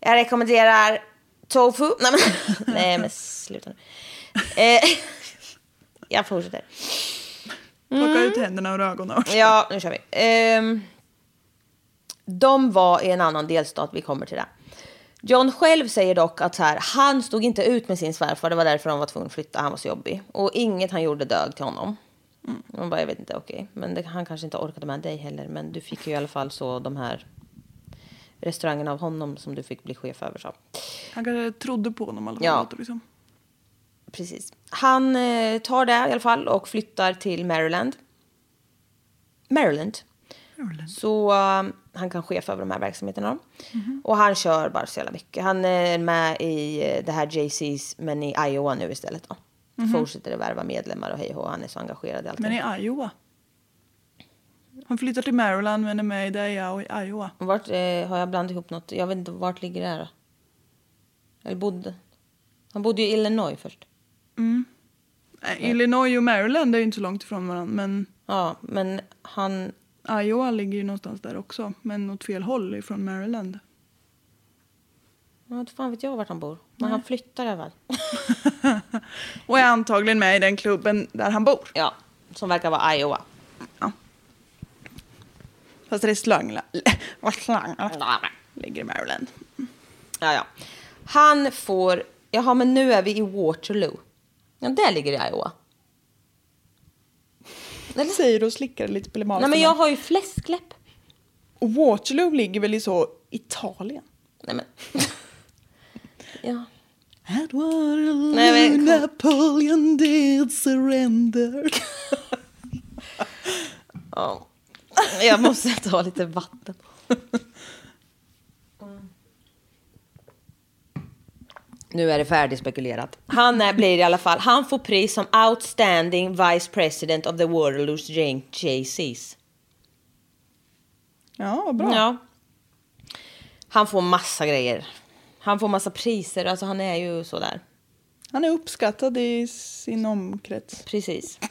S1: Jag rekommenderar tofu. Nej men, nej, men sluta nu. Eh, jag fortsätter.
S2: Plocka ut händerna och ögonen.
S1: Mm. Ja, nu kör vi. Ehm, de var i en annan delstat, vi kommer till det. John själv säger dock att så här, han stod inte ut med sin svärfar. Det var därför de var tvungna att flytta. Han var så jobbig. Och inget han gjorde dög till honom. Man bara, jag vet inte, okej. Men det, han kanske inte orkade med dig heller. Men du fick ju i alla fall så de här restaurangerna av honom som du fick bli chef över. Så.
S2: Han kanske trodde på honom i alla fall.
S1: Ja.
S2: låter det som.
S1: Precis. Han eh, tar det i alla fall och flyttar till Maryland. Maryland. Så eh, han kan chef över de här verksamheterna. Och han kör bara så jävla mycket. Han eh, är med i eh, det här JC's men i Iowa nu istället. Då. Fortsätter att värva medlemmar och hej och hå, han är så engagerad Mhm. i allting.
S2: Men i Iowa. Han flyttar till Maryland men är med i det i Iowa.
S1: Vart, eh, har jag blandat ihop något? Jag vet inte, vart ligger det här då? Eller bodde? Han bodde ju i Illinois först.
S2: Nej, Illinois och Maryland är ju inte så långt ifrån varandra men
S1: Ja, men han...
S2: Iowa ligger ju någonstans där också. Men åt fel håll ifrån Maryland.
S1: Ja, inte fan vet jag vart han bor. Men han flyttar i alla fall.
S2: Och är antagligen med i den klubben där han bor.
S1: Ja, som verkar vara Iowa.
S2: Fast restaurang, restaurang ligger i Maryland.
S1: Ja, ja. Han får... Jaha, men nu är vi i Waterloo. Ja, där ligger det i Iowa. Eller?
S2: Säger och slickar lite på
S1: Nej,
S2: limasen.
S1: men jag har ju fläskläpp.
S2: Och Waterloo ligger väl i så Italien?
S1: Nej, men... ja.
S2: At Waterloo,
S1: Nej, men-
S2: Napoleon did surrender.
S1: ja. Jag måste ta lite vatten. Nu är det färdigspekulerat. Han är, blir i alla fall... Han får pris som Outstanding Vice President of the Waterloo's JC's.
S2: Ja, vad bra.
S1: Ja. Han får massa grejer. Han får massa priser. Alltså han är ju sådär.
S2: Han är uppskattad i sin omkrets.
S1: Precis.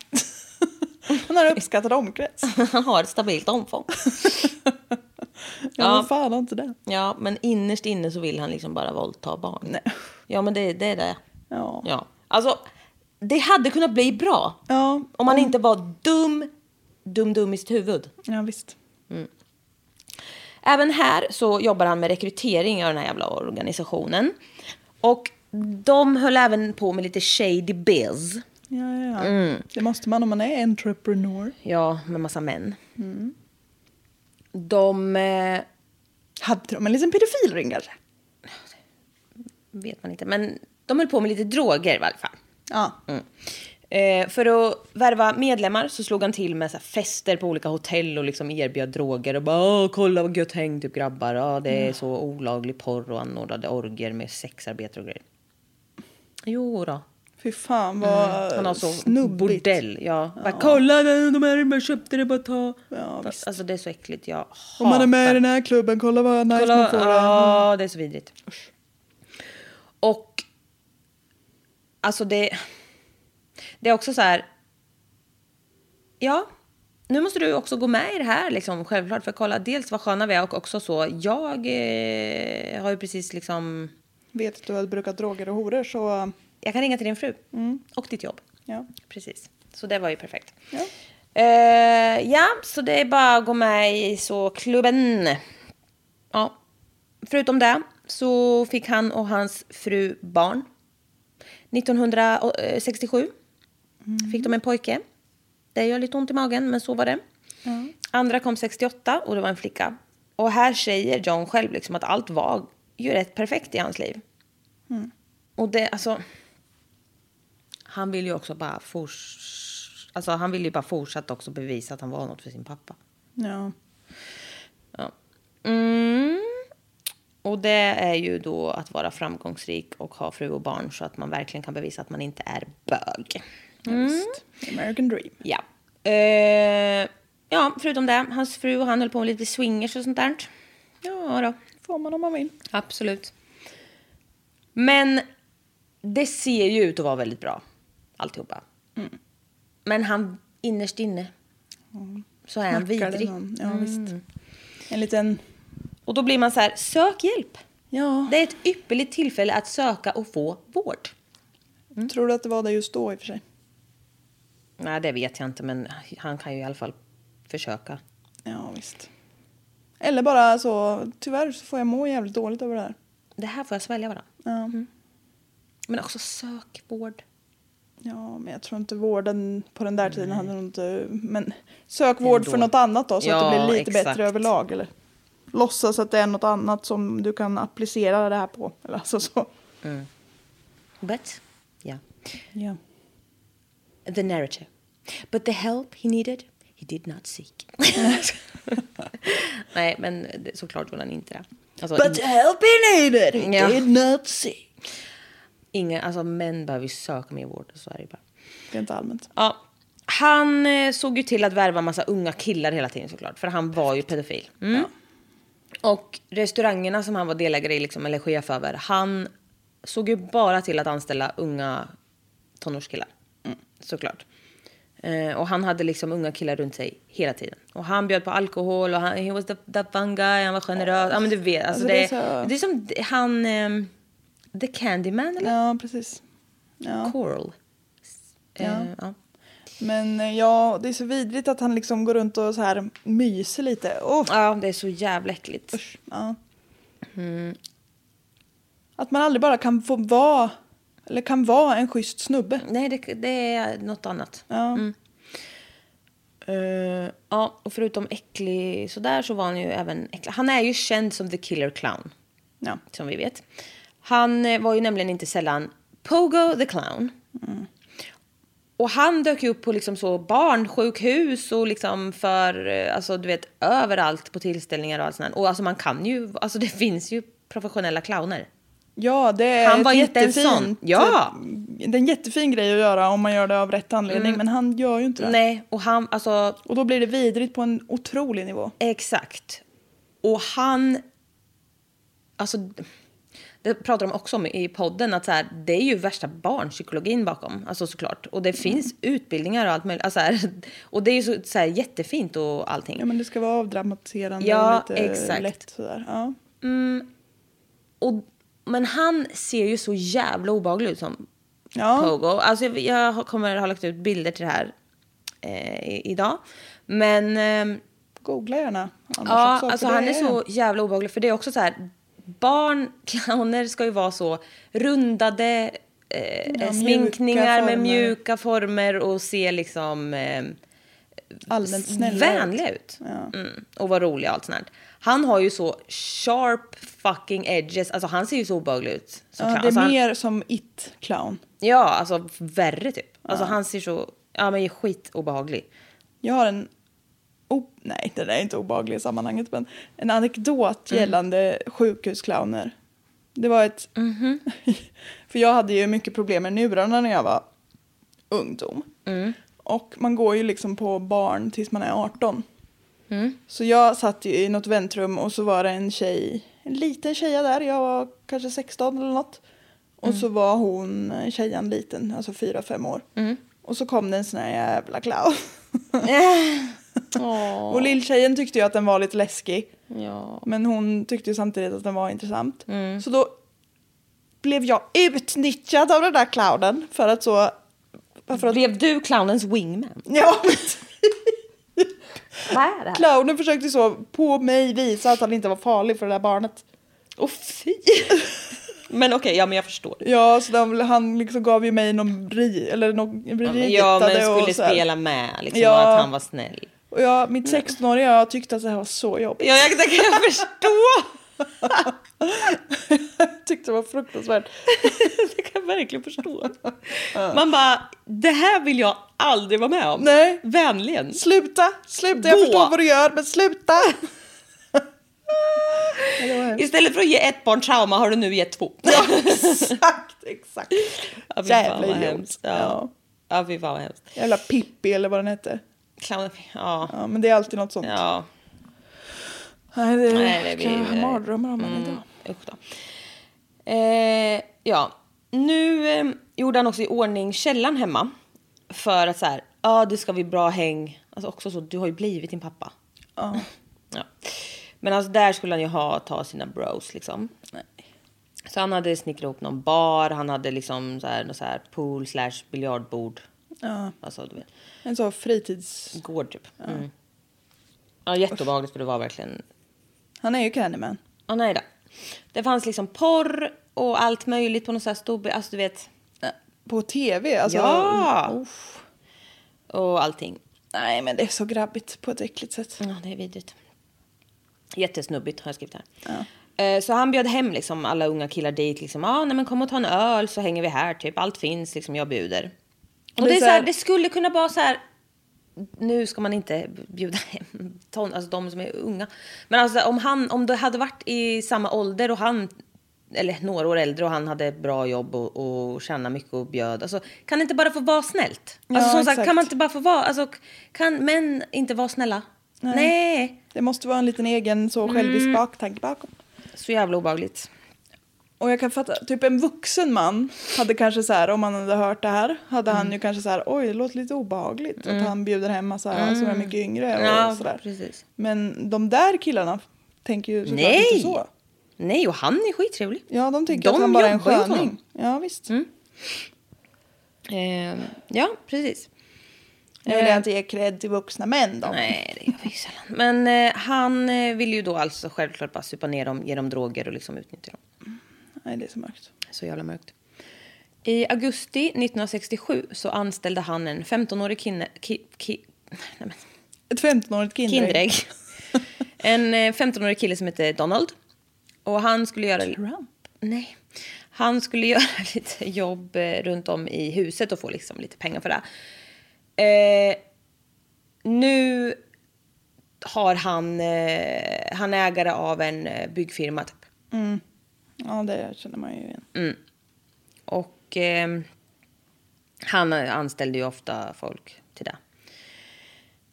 S2: Han har en uppskattad omkrets.
S1: Han har ett stabilt omfång.
S2: Ja,
S1: Ja.
S2: ja. fan har inte det.
S1: Ja, men innerst inne så vill han liksom bara våldta barn.
S2: Nej.
S1: Ja, men det, det är det.
S2: Ja.
S1: Ja. Alltså, det hade kunnat bli bra.
S2: Ja,
S1: Om man inte var dum, dum, dum i sitt huvud.
S2: ja visst.
S1: Även här så jobbar han med rekrytering av den här jävla organisationen. Och de höll även på med lite shady biz.
S2: Ja, ja, ja.
S1: Mm.
S2: Det måste man om man är entreprenör.
S1: Ja, med massa män.
S2: Mm.
S1: De eh,
S2: Hade de en liten pedofilring kanske?
S1: vet man inte, men de höll på med lite droger i alla fall.
S2: Ja.
S1: Mm. Eh, för att värva medlemmar så slog han till med så här fester på olika hotell och liksom erbjöd droger och bara "Åh, kolla vad gött häng typ grabbar. Ja, det är
S2: Mm.
S1: så olaglig porr och anordnade orger med sexarbetare och grejer. Jo då.
S2: Fy fan vad
S1: Mm. Han har så
S2: Eh, snubbigt.
S1: bordell. Ja. Bara, kolla de här man köpte det bara ta.
S2: Ja, visst.
S1: alltså det är så äckligt. Jag hatar.
S2: Om man är med i den här klubben, kolla vad nice man
S1: Kolla,
S2: får.
S1: ja, det är så vidrigt. Och alltså det, det är också så här. Ja, nu måste du också gå med i det här liksom självklart för kolla dels vad sköna vi är och också så jag eh, har ju precis liksom.
S2: Vet att du har brukat droger och horor så
S1: Jag kan ringa till din fru och ditt jobb.
S2: ja.
S1: Precis, så det var ju perfekt.
S2: Ja.
S1: Eh, ja, så det är bara att gå med i så klubben. Ja. Förutom det så fick han och hans fru barn. 1967 fick de en pojke. Det gör lite ont i magen, men så var det. Andra kom 68 och det var en flicka. Och här säger John själv liksom att allt var ju rätt perfekt i hans liv. Och det, alltså... Han vill ju också bara forts- alltså, han vill ju bara fortsätta också bevisa att han var något för sin pappa.
S2: ja.
S1: Ja. Mm. Och det är ju då att vara framgångsrik och ha fru och barn så att man verkligen kan bevisa att man inte är bög. Mm.
S2: Visst. American dream.
S1: Ja. Eh, ja, förutom det. Hans fru och han höll på med lite swingers och sånt där. Ja då.
S2: Får man om man vill.
S1: Absolut. Men det ser ju ut att vara väldigt bra, alltihopa. Mm. Men han innerst inne så är han
S2: Knackar det
S1: vidrig. Mm.
S2: någon. Ja, visst. En liten...
S1: Och då blir man så här, sök hjälp.
S2: Ja.
S1: Det är ett ypperligt tillfälle att söka och få vård. Mm.
S2: Tror du att det var det just då i och för sig?
S1: Nej, det vet jag inte, men han kan ju i alla fall försöka.
S2: Ja, visst. Eller bara så, tyvärr så får jag må jävligt dåligt över det här.
S1: det här får jag svälja bara.
S2: Ja.
S1: Men också sök vård.
S2: ja, men jag tror inte vården på den där tiden hade nog inte... Men sök vård för
S1: Ändå.
S2: något annat då, så att det
S1: Ja,
S2: blir lite
S1: exakt.
S2: bättre överlag. Eller? Låtsas att det är något annat som du kan applicera det här på. Eller alltså så.
S1: But, yeah.
S2: Ja.
S1: The narrative. But the help he needed, he did not seek. Nej, men det- såklart gjorde han inte det. Alltså,
S2: But help he needed, he
S1: Ja.
S2: did not see.
S1: Ingen, alltså män behöver ju söka mer vård. Så är det ju bara.
S2: Rent allmänt.
S1: Ja. Han eh, såg ju till att värva massa unga killar hela tiden såklart. För han var ju pedofil. Mm. Och restaurangerna som han var delägare i, liksom, eller chef över. Han såg ju bara till att anställa unga tonårskillar.
S2: Mm.
S1: Såklart. Eh, och han hade liksom unga killar runt sig hela tiden. Och han bjöd på alkohol och han he was the, the fun guy, han var generös. Ja men du vet, alltså,
S2: Alltså,
S1: det,
S2: det är
S1: det, är
S2: så-
S1: som han... ehm, the Candyman eller?
S2: Ja, precis. Ja.
S1: Coral.
S2: Ja.
S1: Eh, ja.
S2: Men eh, ja, det är så vidrigt att han liksom går runt och så här myser lite. Åh,
S1: Ja, det är så jävla äckligt.
S2: usch. Ja.
S1: Mm.
S2: Att man aldrig bara kan få vara, eller kan vara en schysst snubbe.
S1: Nej, det, det är något annat.
S2: Ja.
S1: Eh, ja, och förutom äcklig sådär så var han ju även äcklig. Han är ju känd som the killer clown,
S2: Ja.
S1: som vi vet. Han eh, var ju nämligen inte sällan Pogo the clown. Och han dök ju upp på liksom så barnsjukhus och liksom för, eh, alltså du vet, överallt på tillställningar och allt sånt där. Och alltså man kan ju, alltså det finns ju professionella clowner.
S2: Ja, det är
S1: Han var
S2: ett
S1: inte en
S2: jättefint-
S1: sån. Ja.
S2: typ, Det är en jättefin grej att göra om man gör det av rätt anledning, men han gör ju inte det.
S1: Mm. Nej, och han, alltså
S2: Och då blir det vidrigt på en otrolig nivå.
S1: Exakt. Och han... Alltså, det pratar de också om i podden, att så här, det är ju värsta barnpsykologin bakom. Alltså såklart. Och det finns utbildningar och allt möjligt. Alltså, så här, och det är ju så, så här, jättefint och allting.
S2: Ja, men det ska vara avdramatiserande
S1: Ja,
S2: och lite
S1: exakt.
S2: lätt sådär. Ja.
S1: Och, men han ser ju så jävla obehaglig ut som
S2: ja.
S1: Pogo. Alltså, jag- jag har- kommer ha lagt ut bilder till det här eh, i- idag. Men... ehm,
S2: Googla gärna. annars
S1: Ja,
S2: också, för
S1: alltså
S2: det
S1: han är så jävla obehaglig. För det är också så här, barn, clowner ska ju vara så rundade eh,
S2: mjuka
S1: sminkningar
S2: former.
S1: med mjuka former och se liksom eh,
S2: allmänt snäll.
S1: vänliga ut. Mm, och vara roliga och allt sånt där. Han har ju så sharp fucking edges. Alltså han ser ju så obehaglig ut. Som
S2: Ja,
S1: clown.
S2: det
S1: Alltså,
S2: är
S1: han,
S2: mer som it-clown.
S1: ja, alltså värre typ. Alltså han ser så, ja men skitobehaglig.
S2: Jag har en... Oh, nej, den är inte obehaglig i sammanhanget, men en anekdot gällande sjukhusclowner. Det var ett... för jag hade ju mycket problem med njurarna när jag var ungdom. Och man går ju liksom på barn tills man är 18. Så jag satt ju i något väntrum och så var det en tjej, en liten tjeja där, jag var kanske 16 eller något. Och så var hon, eh, tjejan liten, alltså 4-5 år. Och så kom det en sån här jävla clown. Och lilltjejen tyckte ju att den var lite läskig.
S1: Ja. Mm.
S2: Men hon tyckte ju samtidigt att den var intressant. Så då blev jag utnyttjad av den där clownen för att så... För att,
S1: Blev du clownens wingman?
S2: ja,
S1: Vad är det här?
S2: clownen försökte så på mig visa att han inte var farlig för det där barnet.
S1: Åh fy! men okej, ja men jag förstår.
S2: Ja, så de, han liksom gav ju mig någon bri... Eller någon bri
S1: Ja, men
S2: och
S1: skulle
S2: så här.
S1: spela med liksom,
S2: Ja.
S1: och att han var snäll.
S2: Och jag, mitt 16-åriga jag tyckte att det här var så jobbigt.
S1: Ja, jag, det kan jag förstå.
S2: Jag tyckte det var fruktansvärt.
S1: det kan jag verkligen förstå. Man bara, det här vill jag aldrig vara med om.
S2: Nej.
S1: Vänligen.
S2: Sluta, sluta, jag
S1: Gå.
S2: förstår vad du gör men sluta!
S1: Istället för att ge ett barn trauma har du nu gett två. Ja,
S2: exakt, exakt.
S1: fy fan,
S2: Jävla
S1: vad
S2: idiot.
S1: hemskt. Ja.
S2: Ja.
S1: ja, fy fan vad hemskt.
S2: Jävla Pippi eller vad den hette.
S1: Clown, ja.
S2: Ja, men det är alltid något sånt.
S1: ja.
S2: Nej, det,
S1: Nej, det
S2: kan jag ha
S1: blir-
S2: mardrömmar om mm. idag.
S1: Usch då. Eh, ja, nu eh, gjorde han också i ordning källaren hemma. För att så här, ja det ska bli bra häng. Alltså också så, du har ju blivit din pappa.
S2: Ja.
S1: Ja. Men alltså där skulle han ju ha, ta sina bros liksom. Så han hade snickrat ihop någon bar, han hade liksom så här, någon så här pool slash biljardbord.
S2: Ja.
S1: Alltså du vet,
S2: En sån fritids...
S1: gård typ. Mm. Ja, jätteobehagligt för det var verkligen
S2: Han är ju Candyman.
S1: Ja, nej då. Det fanns liksom porr och allt möjligt på någon sån här stor... Alltså du vet.
S2: På tv? Alltså,
S1: ja!
S2: Oh,
S1: Och allting.
S2: nej, men det är så grabbigt på ett äckligt sätt.
S1: Ja, det är vidrigt. Jättesnubbigt har jag skrivit här. Eh, Så han bjöd hem liksom alla unga killar dit. Liksom, ah, nej, men kom och ta en öl så hänger vi här. Typ. Allt finns, liksom, jag bjuder. Och det, är så här, det skulle kunna vara så här. Nu ska man inte bjuda hem ton, alltså de som är unga. Men alltså, om, han, om det hade varit i samma ålder och han, eller några år äldre och han hade ett bra jobb och, och tjänade mycket och bjöd. Alltså, kan det inte bara få vara snällt? Alltså,
S2: Ja,
S1: som sagt,
S2: exakt.
S1: kan man inte bara få vara, alltså, kan män inte vara snälla? Nej.
S2: Det måste vara en liten egen så
S1: Mm.
S2: självisk baktanke bakom.
S1: Så jävla obehagligt.
S2: Och jag kan fatta, typ en vuxen man hade kanske så här, om han hade hört det här, hade
S1: Mm.
S2: han ju kanske så här, oj det låter lite obehagligt att han bjuder hem massa som är mycket yngre och
S1: Mm. Ja,
S2: sådär.
S1: precis.
S2: Men de där killarna tänker ju såklart
S1: Nej!
S2: inte så.
S1: Nej, och han är skittrevlig.
S2: Ja, de tycker
S1: De
S2: att han bara är en
S1: jobbar ju Mm. åt
S2: sköning.
S1: honom.
S2: Ja, visst.
S1: Ehm, ja, precis.
S2: Nu vill jag inte ge cred till vuxna män då.
S1: Eh. Nej, det gör vi ju sällan. Men eh, han eh, vill ju då alltså självklart bara supa ner dem, ge dem droger och liksom utnyttja dem.
S2: Nej, det är så mörkt.
S1: Så jävla mörkt. I augusti 1967 så anställde han en 15-årig kinne... Ki, ki, nej, men,
S2: Ett 15-årigt Kinderägg.
S1: Kinderägg. En eh, 15-årig kille som hette Donald. Och han skulle göra...
S2: Trump?
S1: Nej. Han skulle göra lite jobb eh, runt om i huset och få liksom lite pengar för det. Eh, nu har han... Eh, han är ägare av en eh, byggfirma typ.
S2: Ja, det känner man ju igen.
S1: Mm. Och eh, han anställde ju ofta folk till det.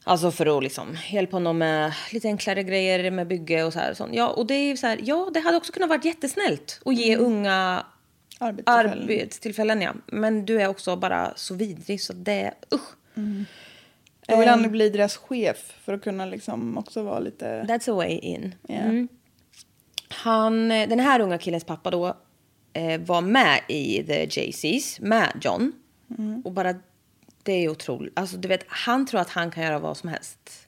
S1: Alltså för att liksom hjälpa honom med lite enklare grejer med bygge och så här. Och sånt. Ja, och det är ju så här, ja, det hade också kunnat varit jättesnällt att ge unga
S2: Arbetstillfällen.
S1: arbetstillfällen. Ja. Men du är också bara så vidrig så det, usch.
S2: Jag vill
S1: Eh.
S2: gärna bli deras chef för att kunna liksom också vara lite...
S1: That's a way in. Mm.
S2: Ja.
S1: Han, eh, den här unga killens pappa då eh, var med i The JCs med John. Och bara det är otroligt. Alltså du vet, han tror att han kan göra vad som helst.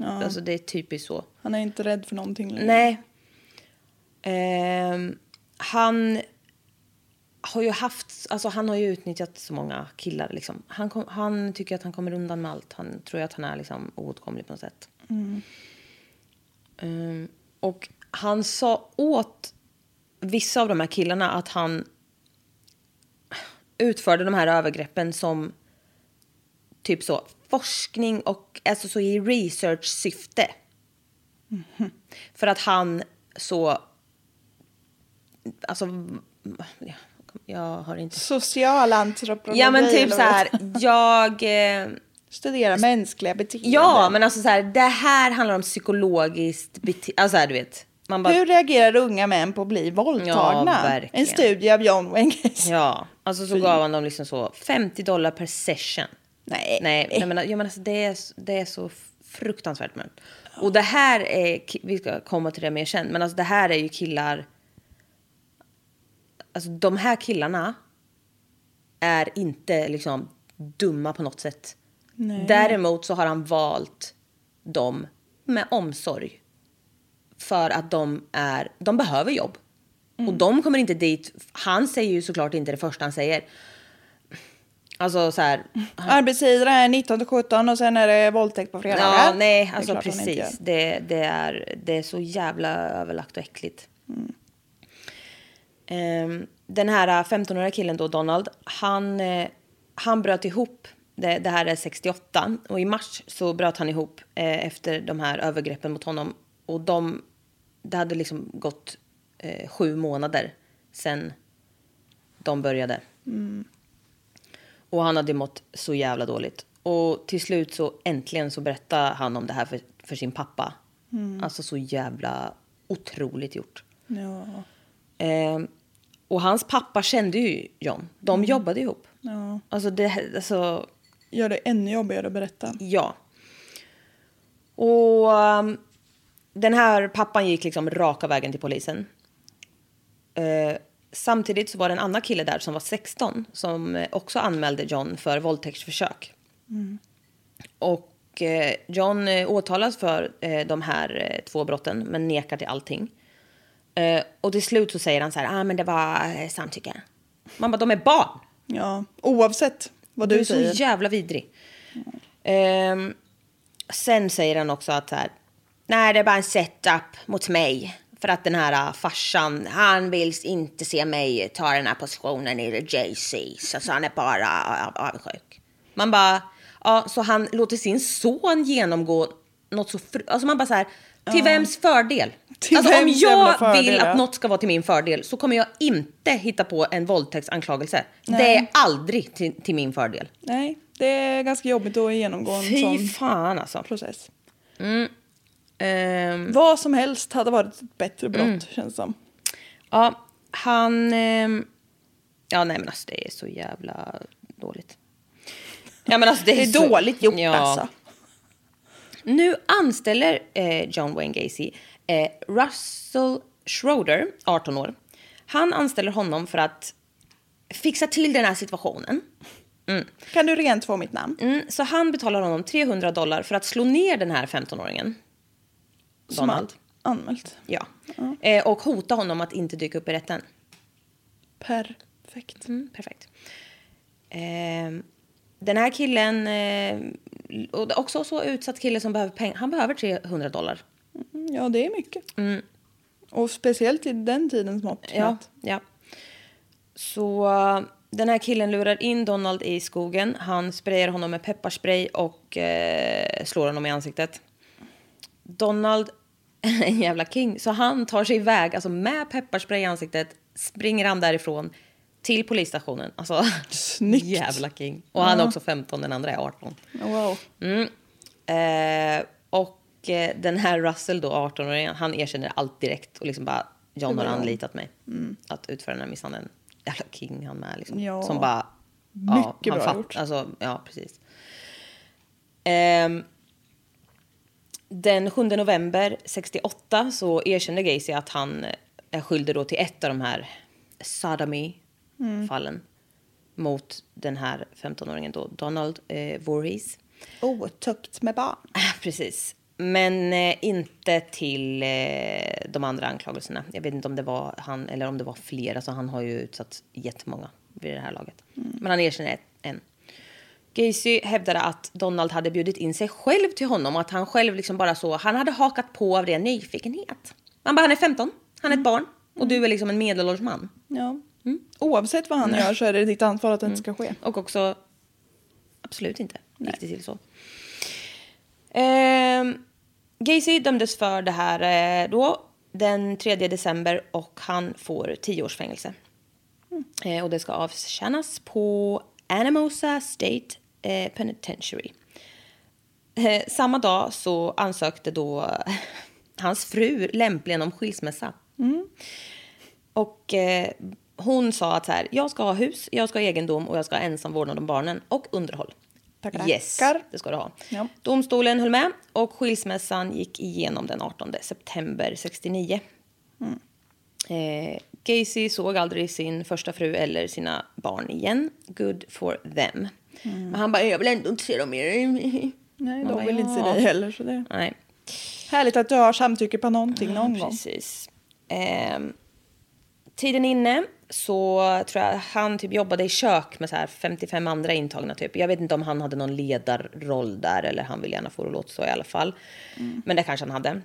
S1: Alltså det är typiskt så.
S2: Han är inte rädd för någonting längre.
S1: Nej. Ehm, han har ju haft, alltså han har ju utnyttjat så många killar liksom. Han, kom, han tycker att han kommer undan med allt. Han tror ju att han är liksom oåtkomlig på något sätt. Ehm, och han sa åt vissa av de här killarna att han utförde de här övergreppen som typ så forskning och alltså så i research syfte. För att han så... Alltså... Jag, jag har inte...
S2: Social antropologi.
S1: Ja, men typ
S2: eller
S1: så här...
S2: vad?
S1: Jag... Eh,
S2: Studera mänskliga beteenden.
S1: ja, men alltså så här... Det här handlar om psykologiskt beteende. Alltså, så här, du vet. Man bara...
S2: Hur reagerar unga män på att bli
S1: Ja,
S2: våldtagna?
S1: verkligen.
S2: en studie av John Wayne Gacy.
S1: Ja, alltså så gav han dem liksom så 50 dollar per session.
S2: Nej.
S1: Nej, nej men, jag menar, alltså, det, är, det är så fruktansvärt mörkt. Och det här är, ki- vi ska komma till det mer sen, men alltså det här är ju killar. Alltså de här killarna är inte liksom dumma på något sätt. Däremot så har han valt dem med omsorg. För att de är, de behöver jobb. Och de kommer inte dit, han säger ju såklart inte det första han säger. Alltså så här,
S2: Arbetsgivare är 19 till 17 och sen är det våldtäkt på fredagar.
S1: Ja, nej,
S2: Det är
S1: alltså
S2: klart man inte gör.
S1: precis. Det, det, är, det är så jävla överlagt och äckligt.
S2: Mm.
S1: Ehm, den här 15-åriga killen då, Donald, han, eh, han bröt ihop. Det, det här är 68 och i mars så bröt han ihop eh, efter de här övergreppen mot honom. Och de, det hade liksom gått eh, sju månader sen de började. Och han hade mått så jävla dåligt. Och till slut så äntligen så berättade han om det här för, för sin pappa. Alltså så jävla otroligt gjort.
S2: Ja.
S1: Ehm, och hans pappa kände ju John. De jobbade ihop.
S2: Ja.
S1: Alltså det, alltså
S2: Gör det ännu jobbigare att berätta.
S1: Ja. Och um, den här pappan gick liksom raka vägen till polisen. Eh, samtidigt så var det en annan kille där som var 16 som eh, också anmälde John för våldtäktsförsök. Och eh, John eh, åtalas för eh, de här eh, två brotten men nekar till allting. Eh, och till slut så säger han så här, ah, men det var eh, samtycke. Man bara, de är barn.
S2: Ja, oavsett vad du,
S1: Du är så
S2: säger.
S1: jävla vidrig. Ehm, sen säger han också att så här, nej det är bara en setup mot mig. För att den här ah, farsan, han vill inte se mig ta den här positionen i the JC. Så, så han är bara ah, ah, avundsjuk. Man bara, ja så han låter sin son genomgå något så fru- Alltså man bara så här, till vems fördel?
S2: Till
S1: alltså om
S2: vems jävla
S1: jag
S2: fördel,
S1: vill
S2: ja.
S1: att något ska vara till min fördel så kommer jag inte hitta på en våldtäktsanklagelse. Det är aldrig till, till min fördel.
S2: Nej, det är ganska jobbigt att genomgå en sån
S1: Fy fan alltså.
S2: process.
S1: Ehm,
S2: Vad som helst hade varit ett bättre brott,
S1: Mm.
S2: känns som.
S1: ja, han... ehm, ja, nej men alltså det är så jävla dåligt. Ja, men alltså, det,
S2: Det är
S1: så-
S2: dåligt gjort
S1: ja.
S2: alltså.
S1: Nu anställer eh, John Wayne Gacy eh, Russell Schroeder, 18 år. Han anställer honom för att fixa till den här situationen.
S2: Kan du rent få mitt namn?
S1: Mm, så han betalar honom 300 dollar för att slå ner den här 15-åringen.
S2: Som
S1: Donald.
S2: har Anmält.
S1: Ja. Eh, och hota honom att inte dyka upp i rätten.
S2: Perfekt.
S1: Mm, perfekt. Ehm, den här killen, eh, och det är också så utsatt kille som behöver pengar. Han behöver 300 dollar.
S2: Mm, Ja, det är mycket. Och speciellt i den tidens mått.
S1: Mm. Ja, ja. Så eh, den här killen lurar in Donald i skogen. Han sprayar honom med pepparspray och eh, slår honom i ansiktet. Donald, en jävla king, så han tar sig iväg, alltså med pepparspray i ansiktet, springer han därifrån till polisstationen. Alltså,
S2: Snyggt.
S1: jävla king. Och han är också 15, den andra är 18.
S2: Wow.
S1: Eh, och eh, den här Russell då, 18-åringen, han erkänner allt direkt och liksom bara John har anlitat mig att utföra den här misshandeln. Jävla king han med liksom.
S2: Mm. Ja.
S1: Som bara...
S2: Mycket
S1: han
S2: bra
S1: fatt-
S2: gjort.
S1: Alltså, ja, precis. Ehm, den 7 november 68 så erkände Gacy att han är skyldig då till ett av de här
S2: Mm.
S1: sodomy-fallen mot den här 15-åringen då, Donald eh, Voorhees.
S2: Otukt med barn.
S1: Ah, Precis. Men eh, inte till eh, de andra anklagelserna. Jag vet inte om det var han eller om det var flera. Så han har ju utsatt jättemånga vid det här laget. Men han erkänner ett- en. Gacy hävdade att Donald hade bjudit in sig själv till honom och att han själv liksom bara så, han hade hakat på av ren nyfikenhet. Man bara, han är 15, han är ett barn och du är liksom en medelålders man.
S2: Ja.
S1: Mm.
S2: Oavsett vad han gör så är det ditt ansvar att det inte ska ske.
S1: Och också absolut inte gick det till så. Ehm, Gacy dömdes för det här eh, då den 3 december och han får 10 års fängelse. Eh, och det ska avtjänas på Anamosa State eh, Penitentiary. Eh, samma dag så ansökte då hans fru lämpligen om skilsmässa. Och eh, hon sa att så här, jag ska ha hus, jag ska ha egendom och jag ska ha ensam vårdnad om barnen och underhåll.
S2: Tackar.
S1: Yes, det ska du ha.
S2: Ja.
S1: Domstolen höll med och skilsmässan gick igenom den 18 september 69.
S2: Mm.
S1: Eh, Gacy såg aldrig sin första fru eller sina barn igen. Good for them. Men han bara, jag vill ändå inte se dem mer.
S2: Mm. Nej,
S1: Man
S2: de
S1: bara,
S2: vill inte se
S1: ja.
S2: dig heller. Så det är
S1: Nej,
S2: härligt att du har samtycke på någonting någon gång.
S1: precis. Ehm, tiden inne så tror jag han typ jobbade i kök med så här 55 andra intagna. Typ. Jag vet inte om han hade någon ledarroll där eller han ville gärna få det att låta så i alla fall.
S2: Mm.
S1: Men det kanske han hade.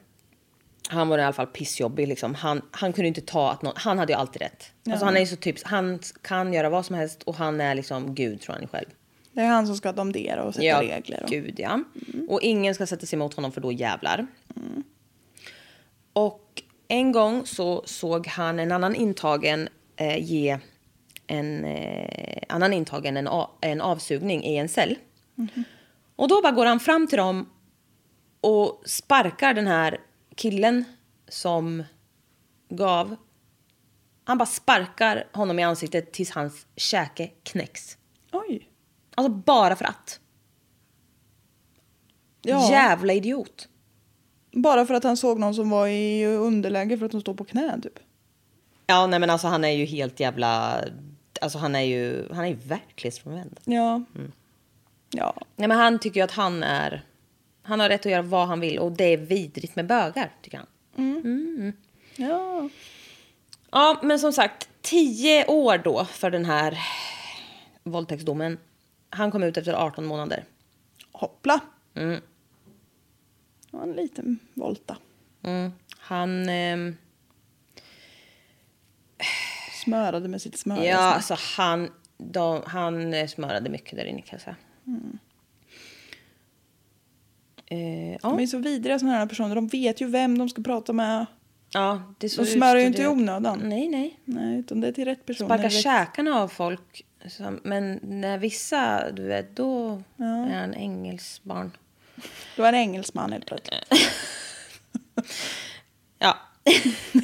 S1: Han var i alla fall pissjobbig. Liksom. Han, han kunde inte ta att någon, han hade ju alltid rätt. Alltså, han är ju så typ, han kan göra vad som helst och han är liksom gud tror han själv.
S2: Det är han som ska domdera och sätta
S1: Ja,
S2: regler. Och... Mm.
S1: gud ja. Och ingen ska sätta sig emot honom för då jävlar. Och en gång så såg han en annan intagen eh, ge en eh, annan intagen en, a- en avsugning i en cell.
S2: Mhm.
S1: Och då bara går han fram till dem och sparkar den här killen som gav. Han bara sparkar honom i ansiktet tills hans käke knäcks.
S2: Oj.
S1: Alltså bara för att.
S2: Ja,
S1: Jävla idiot.
S2: Bara för att han såg någon som var i underläge för att de stod på knä typ.
S1: Ja, nej men alltså han är ju helt jävla... Alltså han är ju, han är ju verklighetsfrånvänd.
S2: Ja.
S1: Mm.
S2: Ja.
S1: Nej men han tycker ju att han är... Han har rätt att göra vad han vill och det är vidrigt med bögar, tycker han.
S2: Ja.
S1: Ja, men som sagt, tio år då för den här våldtäktsdomen. Han kom ut efter 18 månader. Mm,
S2: Hoppla. Det var en liten volta.
S1: mm. Han... ehm,
S2: Smörade med sitt smör.
S1: Ja, alltså han, de, han eh, smörade mycket där inne kan jag säga.
S2: Mm.
S1: Eh, ja.
S2: De är så vidriga sådana här personer. De vet ju vem de ska prata med.
S1: ja, det är så
S2: De smörjer ju inte i
S1: utstuderat. Mm.
S2: onödan.
S1: Nej, nej.
S2: Nej, utan det är till rätt personer.
S1: Sparkar
S2: direkt.
S1: käkarna av folk. Som, men när vissa, du vet, då är han engelsbarn.
S2: Då är det engelsman helt plötsligt.
S1: Ja.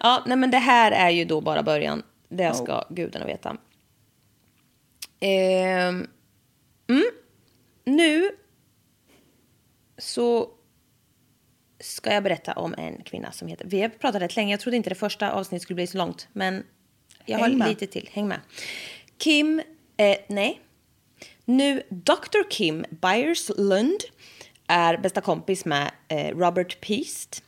S1: ja, nej men det här är ju då bara början. Det ska
S2: Oh.
S1: gudarna veta. Ehm, mm. Nu så ska jag berätta om en kvinna som heter... Vi har pratat rätt länge. Jag trodde inte det första avsnittet skulle bli så långt. Men jag
S2: Häng
S1: har
S2: med.
S1: lite till. Häng med. Kim... Eh, nej. Nu Dr. Kim Byers-Lund är bästa kompis med eh, Robert Peast.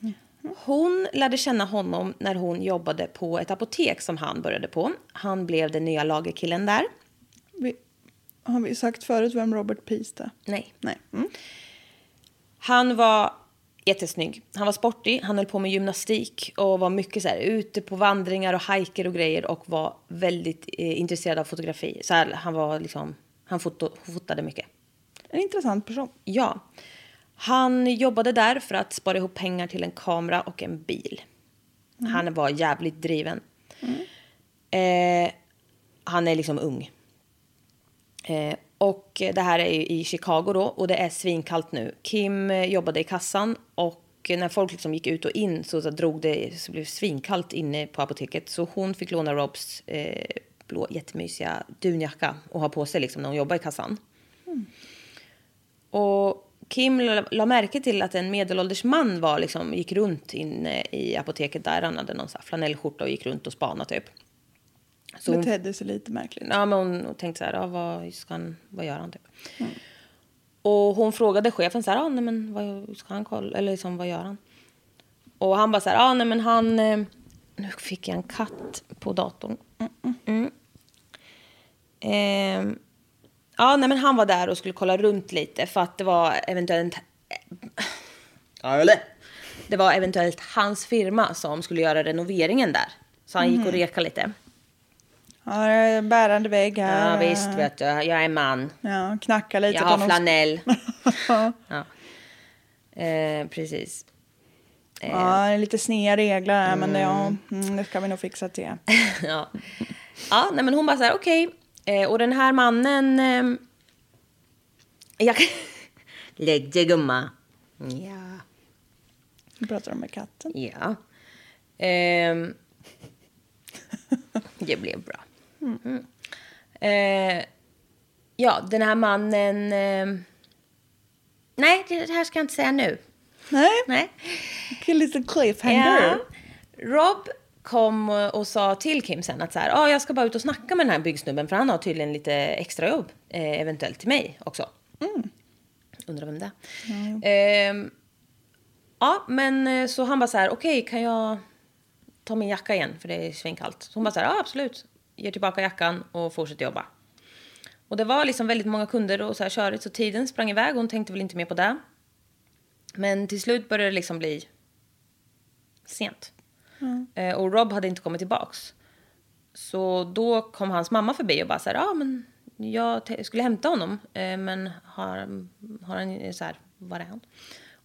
S2: Mm-hmm.
S1: Hon lärde känna honom när hon jobbade på ett apotek som han började på. Han blev den nya lagerkillen där.
S2: Vi, har vi sagt förut vem Robert Peast är?
S1: Nej.
S2: Nej. Mm.
S1: Han var jättesnygg. Han var sportig, han höll på med gymnastik och var mycket så här ute på vandringar och hajker och grejer och var väldigt eh, intresserad av fotografi. Så här, han var liksom, han foto, fotade mycket.
S2: En intressant person.
S1: Ja. Han jobbade där för att spara ihop pengar till en kamera och en bil. Han var jävligt driven. Eh, han är liksom ung. Eh, och det här är ju i Chicago då och det är svinkallt nu. Kim eh, jobbade i kassan och när folk liksom gick ut och in så, så drog det, så blev det svinkallt inne på apoteket. Så hon fick låna Robs eh, blå jättemysiga dunjacka och ha på sig liksom när hon jobbade i kassan. Och Kim la, la märke till att en medelålders man var, liksom, gick runt inne i apoteket där. Han hade någon så här flanellskjorta och gick runt och spanade typ. Så hon,
S2: Betedde sig lite märkligt.
S1: ja, men hon tänkte så här, ja, vad, ska han, vad gör han typ? Och hon frågade chefen så här, ah, nej, men vad ska han kolla, eller liksom, vad gör han? Och han bara så här, ah, nej men han, eh, nu fick jag en katt på datorn. Mm, Ehm, ja, nej, men han var där och skulle kolla runt lite för att det var eventuellt... Eller? Det var eventuellt hans firma som skulle göra renoveringen där. Så han gick och reka lite.
S2: Ja, det är en bärande vägg här.
S1: Ja, visst vet du, jag är man.
S2: Ja, knacka lite
S1: Jag
S2: på
S1: har
S2: någon-
S1: flanell. ja. eh, precis.
S2: Ja, det är lite sneda regler här, men det, ja, mm, det ska vi nog fixa till.
S1: ja. ja, nej men hon bara så här, okej. Eh, och den här mannen... ehm, jag... Lägg dig gumma. Ja.
S2: Nu pratar de med katten.
S1: Ja. Ehm, det blev bra. Mm. Eh, ja, den här mannen... ehm, nej, det det här ska jag inte säga nu.
S2: Nej,
S1: Nej.
S2: kill is a cliffhanger.
S1: Rob kom och sa till Kim sen att så här, ah, jag ska bara ut och snacka med den här byggsnubben för han har tydligen lite extra jobb eh, eventuellt till mig också. Undrar vem det är. Ehm, ja, men eh, så han bara så här, okej kan jag ta min jacka igen för det är svinkallt. Så hon bara så här, ja ah, absolut. Ger tillbaka jackan och fortsätter jobba. Och det var liksom väldigt många kunder och så här körigt så tiden sprang iväg och hon tänkte väl inte mer på det. Men till slut började det liksom bli sent. Eh, och Rob hade inte kommit tillbaks. Så då kom hans mamma förbi och bara så här, ja ah, men jag te- skulle hämta honom. Eh, men har, har han, så här, var är han?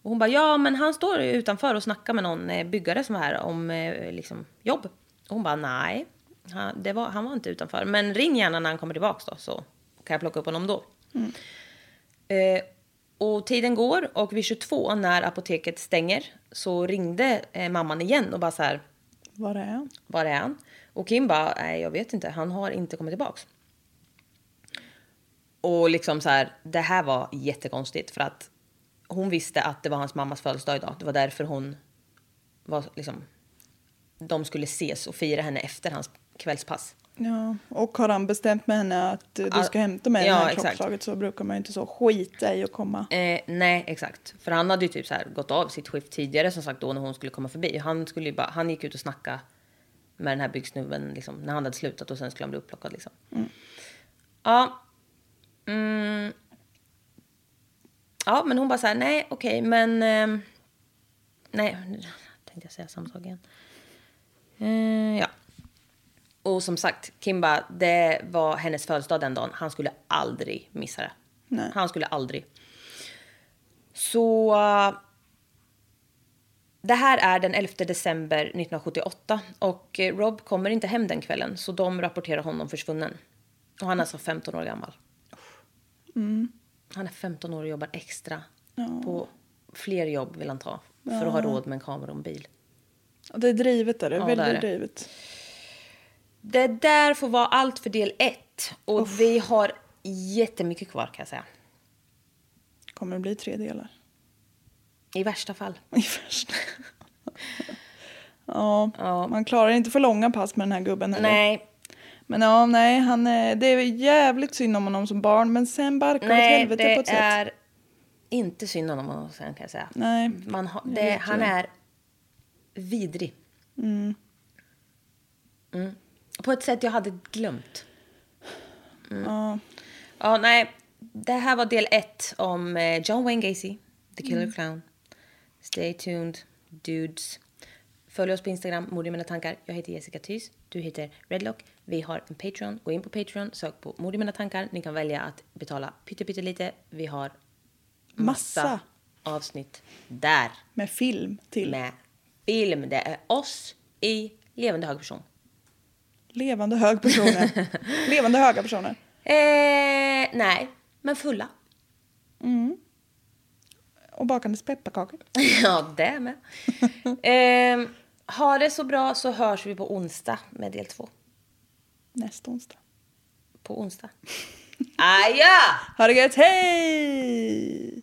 S1: Och hon bara, ja men han står utanför och snackar med någon eh, byggare som var här om eh, liksom, jobb. Och hon bara, nej. Han, det var, han var inte utanför. Men ring gärna när han kommer tillbaks då så kan jag plocka upp honom då. Eh, och tiden går och vid 22 när apoteket stänger så ringde eh, mamman igen och bara så här,
S2: Var är han?
S1: var är han? Och Kim bara, nej jag vet inte, han har inte kommit tillbaks. Och liksom så här, det här var jättekonstigt för att hon visste att det var hans mammas födelsedag idag. Det var därför hon var liksom, de skulle ses och fira henne efter hans kvällspass.
S2: Ja, och har han bestämt med henne att eh, du
S1: Ja,
S2: ska hämta mig
S1: ja,
S2: det här
S1: exakt.
S2: klockslaget så brukar man ju inte så skita i att komma.
S1: Eh, nej, exakt. För han hade ju typ så här gått av sitt skift tidigare som sagt då när hon skulle komma förbi. Han, skulle ju bara, han gick ut och snackade med den här byggsnubben liksom, när han hade slutat och sen skulle han bli upplockad. Liksom. Ja. Mm. Ja, men hon bara så här, nej, okej, men... ehm, nej, nu tänkte jag säga samma sak igen. Eh, ja. Och som sagt, Kim bara, det var hennes födelsedag den dagen. Han skulle aldrig missa det.
S2: Nej.
S1: Han skulle aldrig. Så... eh, Det här är den 11 december 1978 och eh, Rob kommer inte hem den kvällen så de rapporterar honom försvunnen. Och han är alltså 15 år gammal.
S2: Mm.
S1: Han är 15 år och jobbar extra. På fler jobb vill han ta för att ha råd med en kamera och en bil.
S2: Det är drivet där, det är
S1: Ja,
S2: väldigt
S1: det är det.
S2: drivet.
S1: Det där får vara allt för del ett. Och vi har jättemycket kvar kan jag säga.
S2: Kommer det bli tre delar?
S1: I värsta fall.
S2: I första. ja, man klarar inte för långa pass med den här gubben heller.
S1: Nej,
S2: Men ja, nej, han, är- det är jävligt synd om honom som barn men sen barkar åt
S1: nej
S2: helvete på
S1: det
S2: ett sätt.
S1: är inte synd om honom sen kan jag säga.
S2: Nej,
S1: Man har,
S2: jag
S1: det,
S2: vet
S1: han
S2: ju.
S1: är vidrig. Mm. På ett sätt jag hade glömt.
S2: Ja,
S1: Ja, nej. Det här var del ett om eh, John Wayne Gacy, The Killer
S2: Mm.
S1: Clown. Stay tuned, dudes. Följ oss på Instagram, Mord i mina tankar. Jag heter Jessica Thys, du heter Redlock. Vi har en Patreon. Gå in på Patreon, sök på Mord i mina tankar. Ni kan välja att betala pytte, pytte lite. Vi har
S2: massa.
S1: massa avsnitt där
S2: med film till
S1: med film. Det är oss i levande hög person.
S2: levande hög personer. levande höga personer.
S1: Eh, nej, men fulla.
S2: Och bakandes pepparkakor.
S1: Ja, det med. Ehm, ha det så bra så hörs vi på onsdag med del två.
S2: Nästa onsdag.
S1: På onsdag. Aja!
S2: Ha det gött, hej!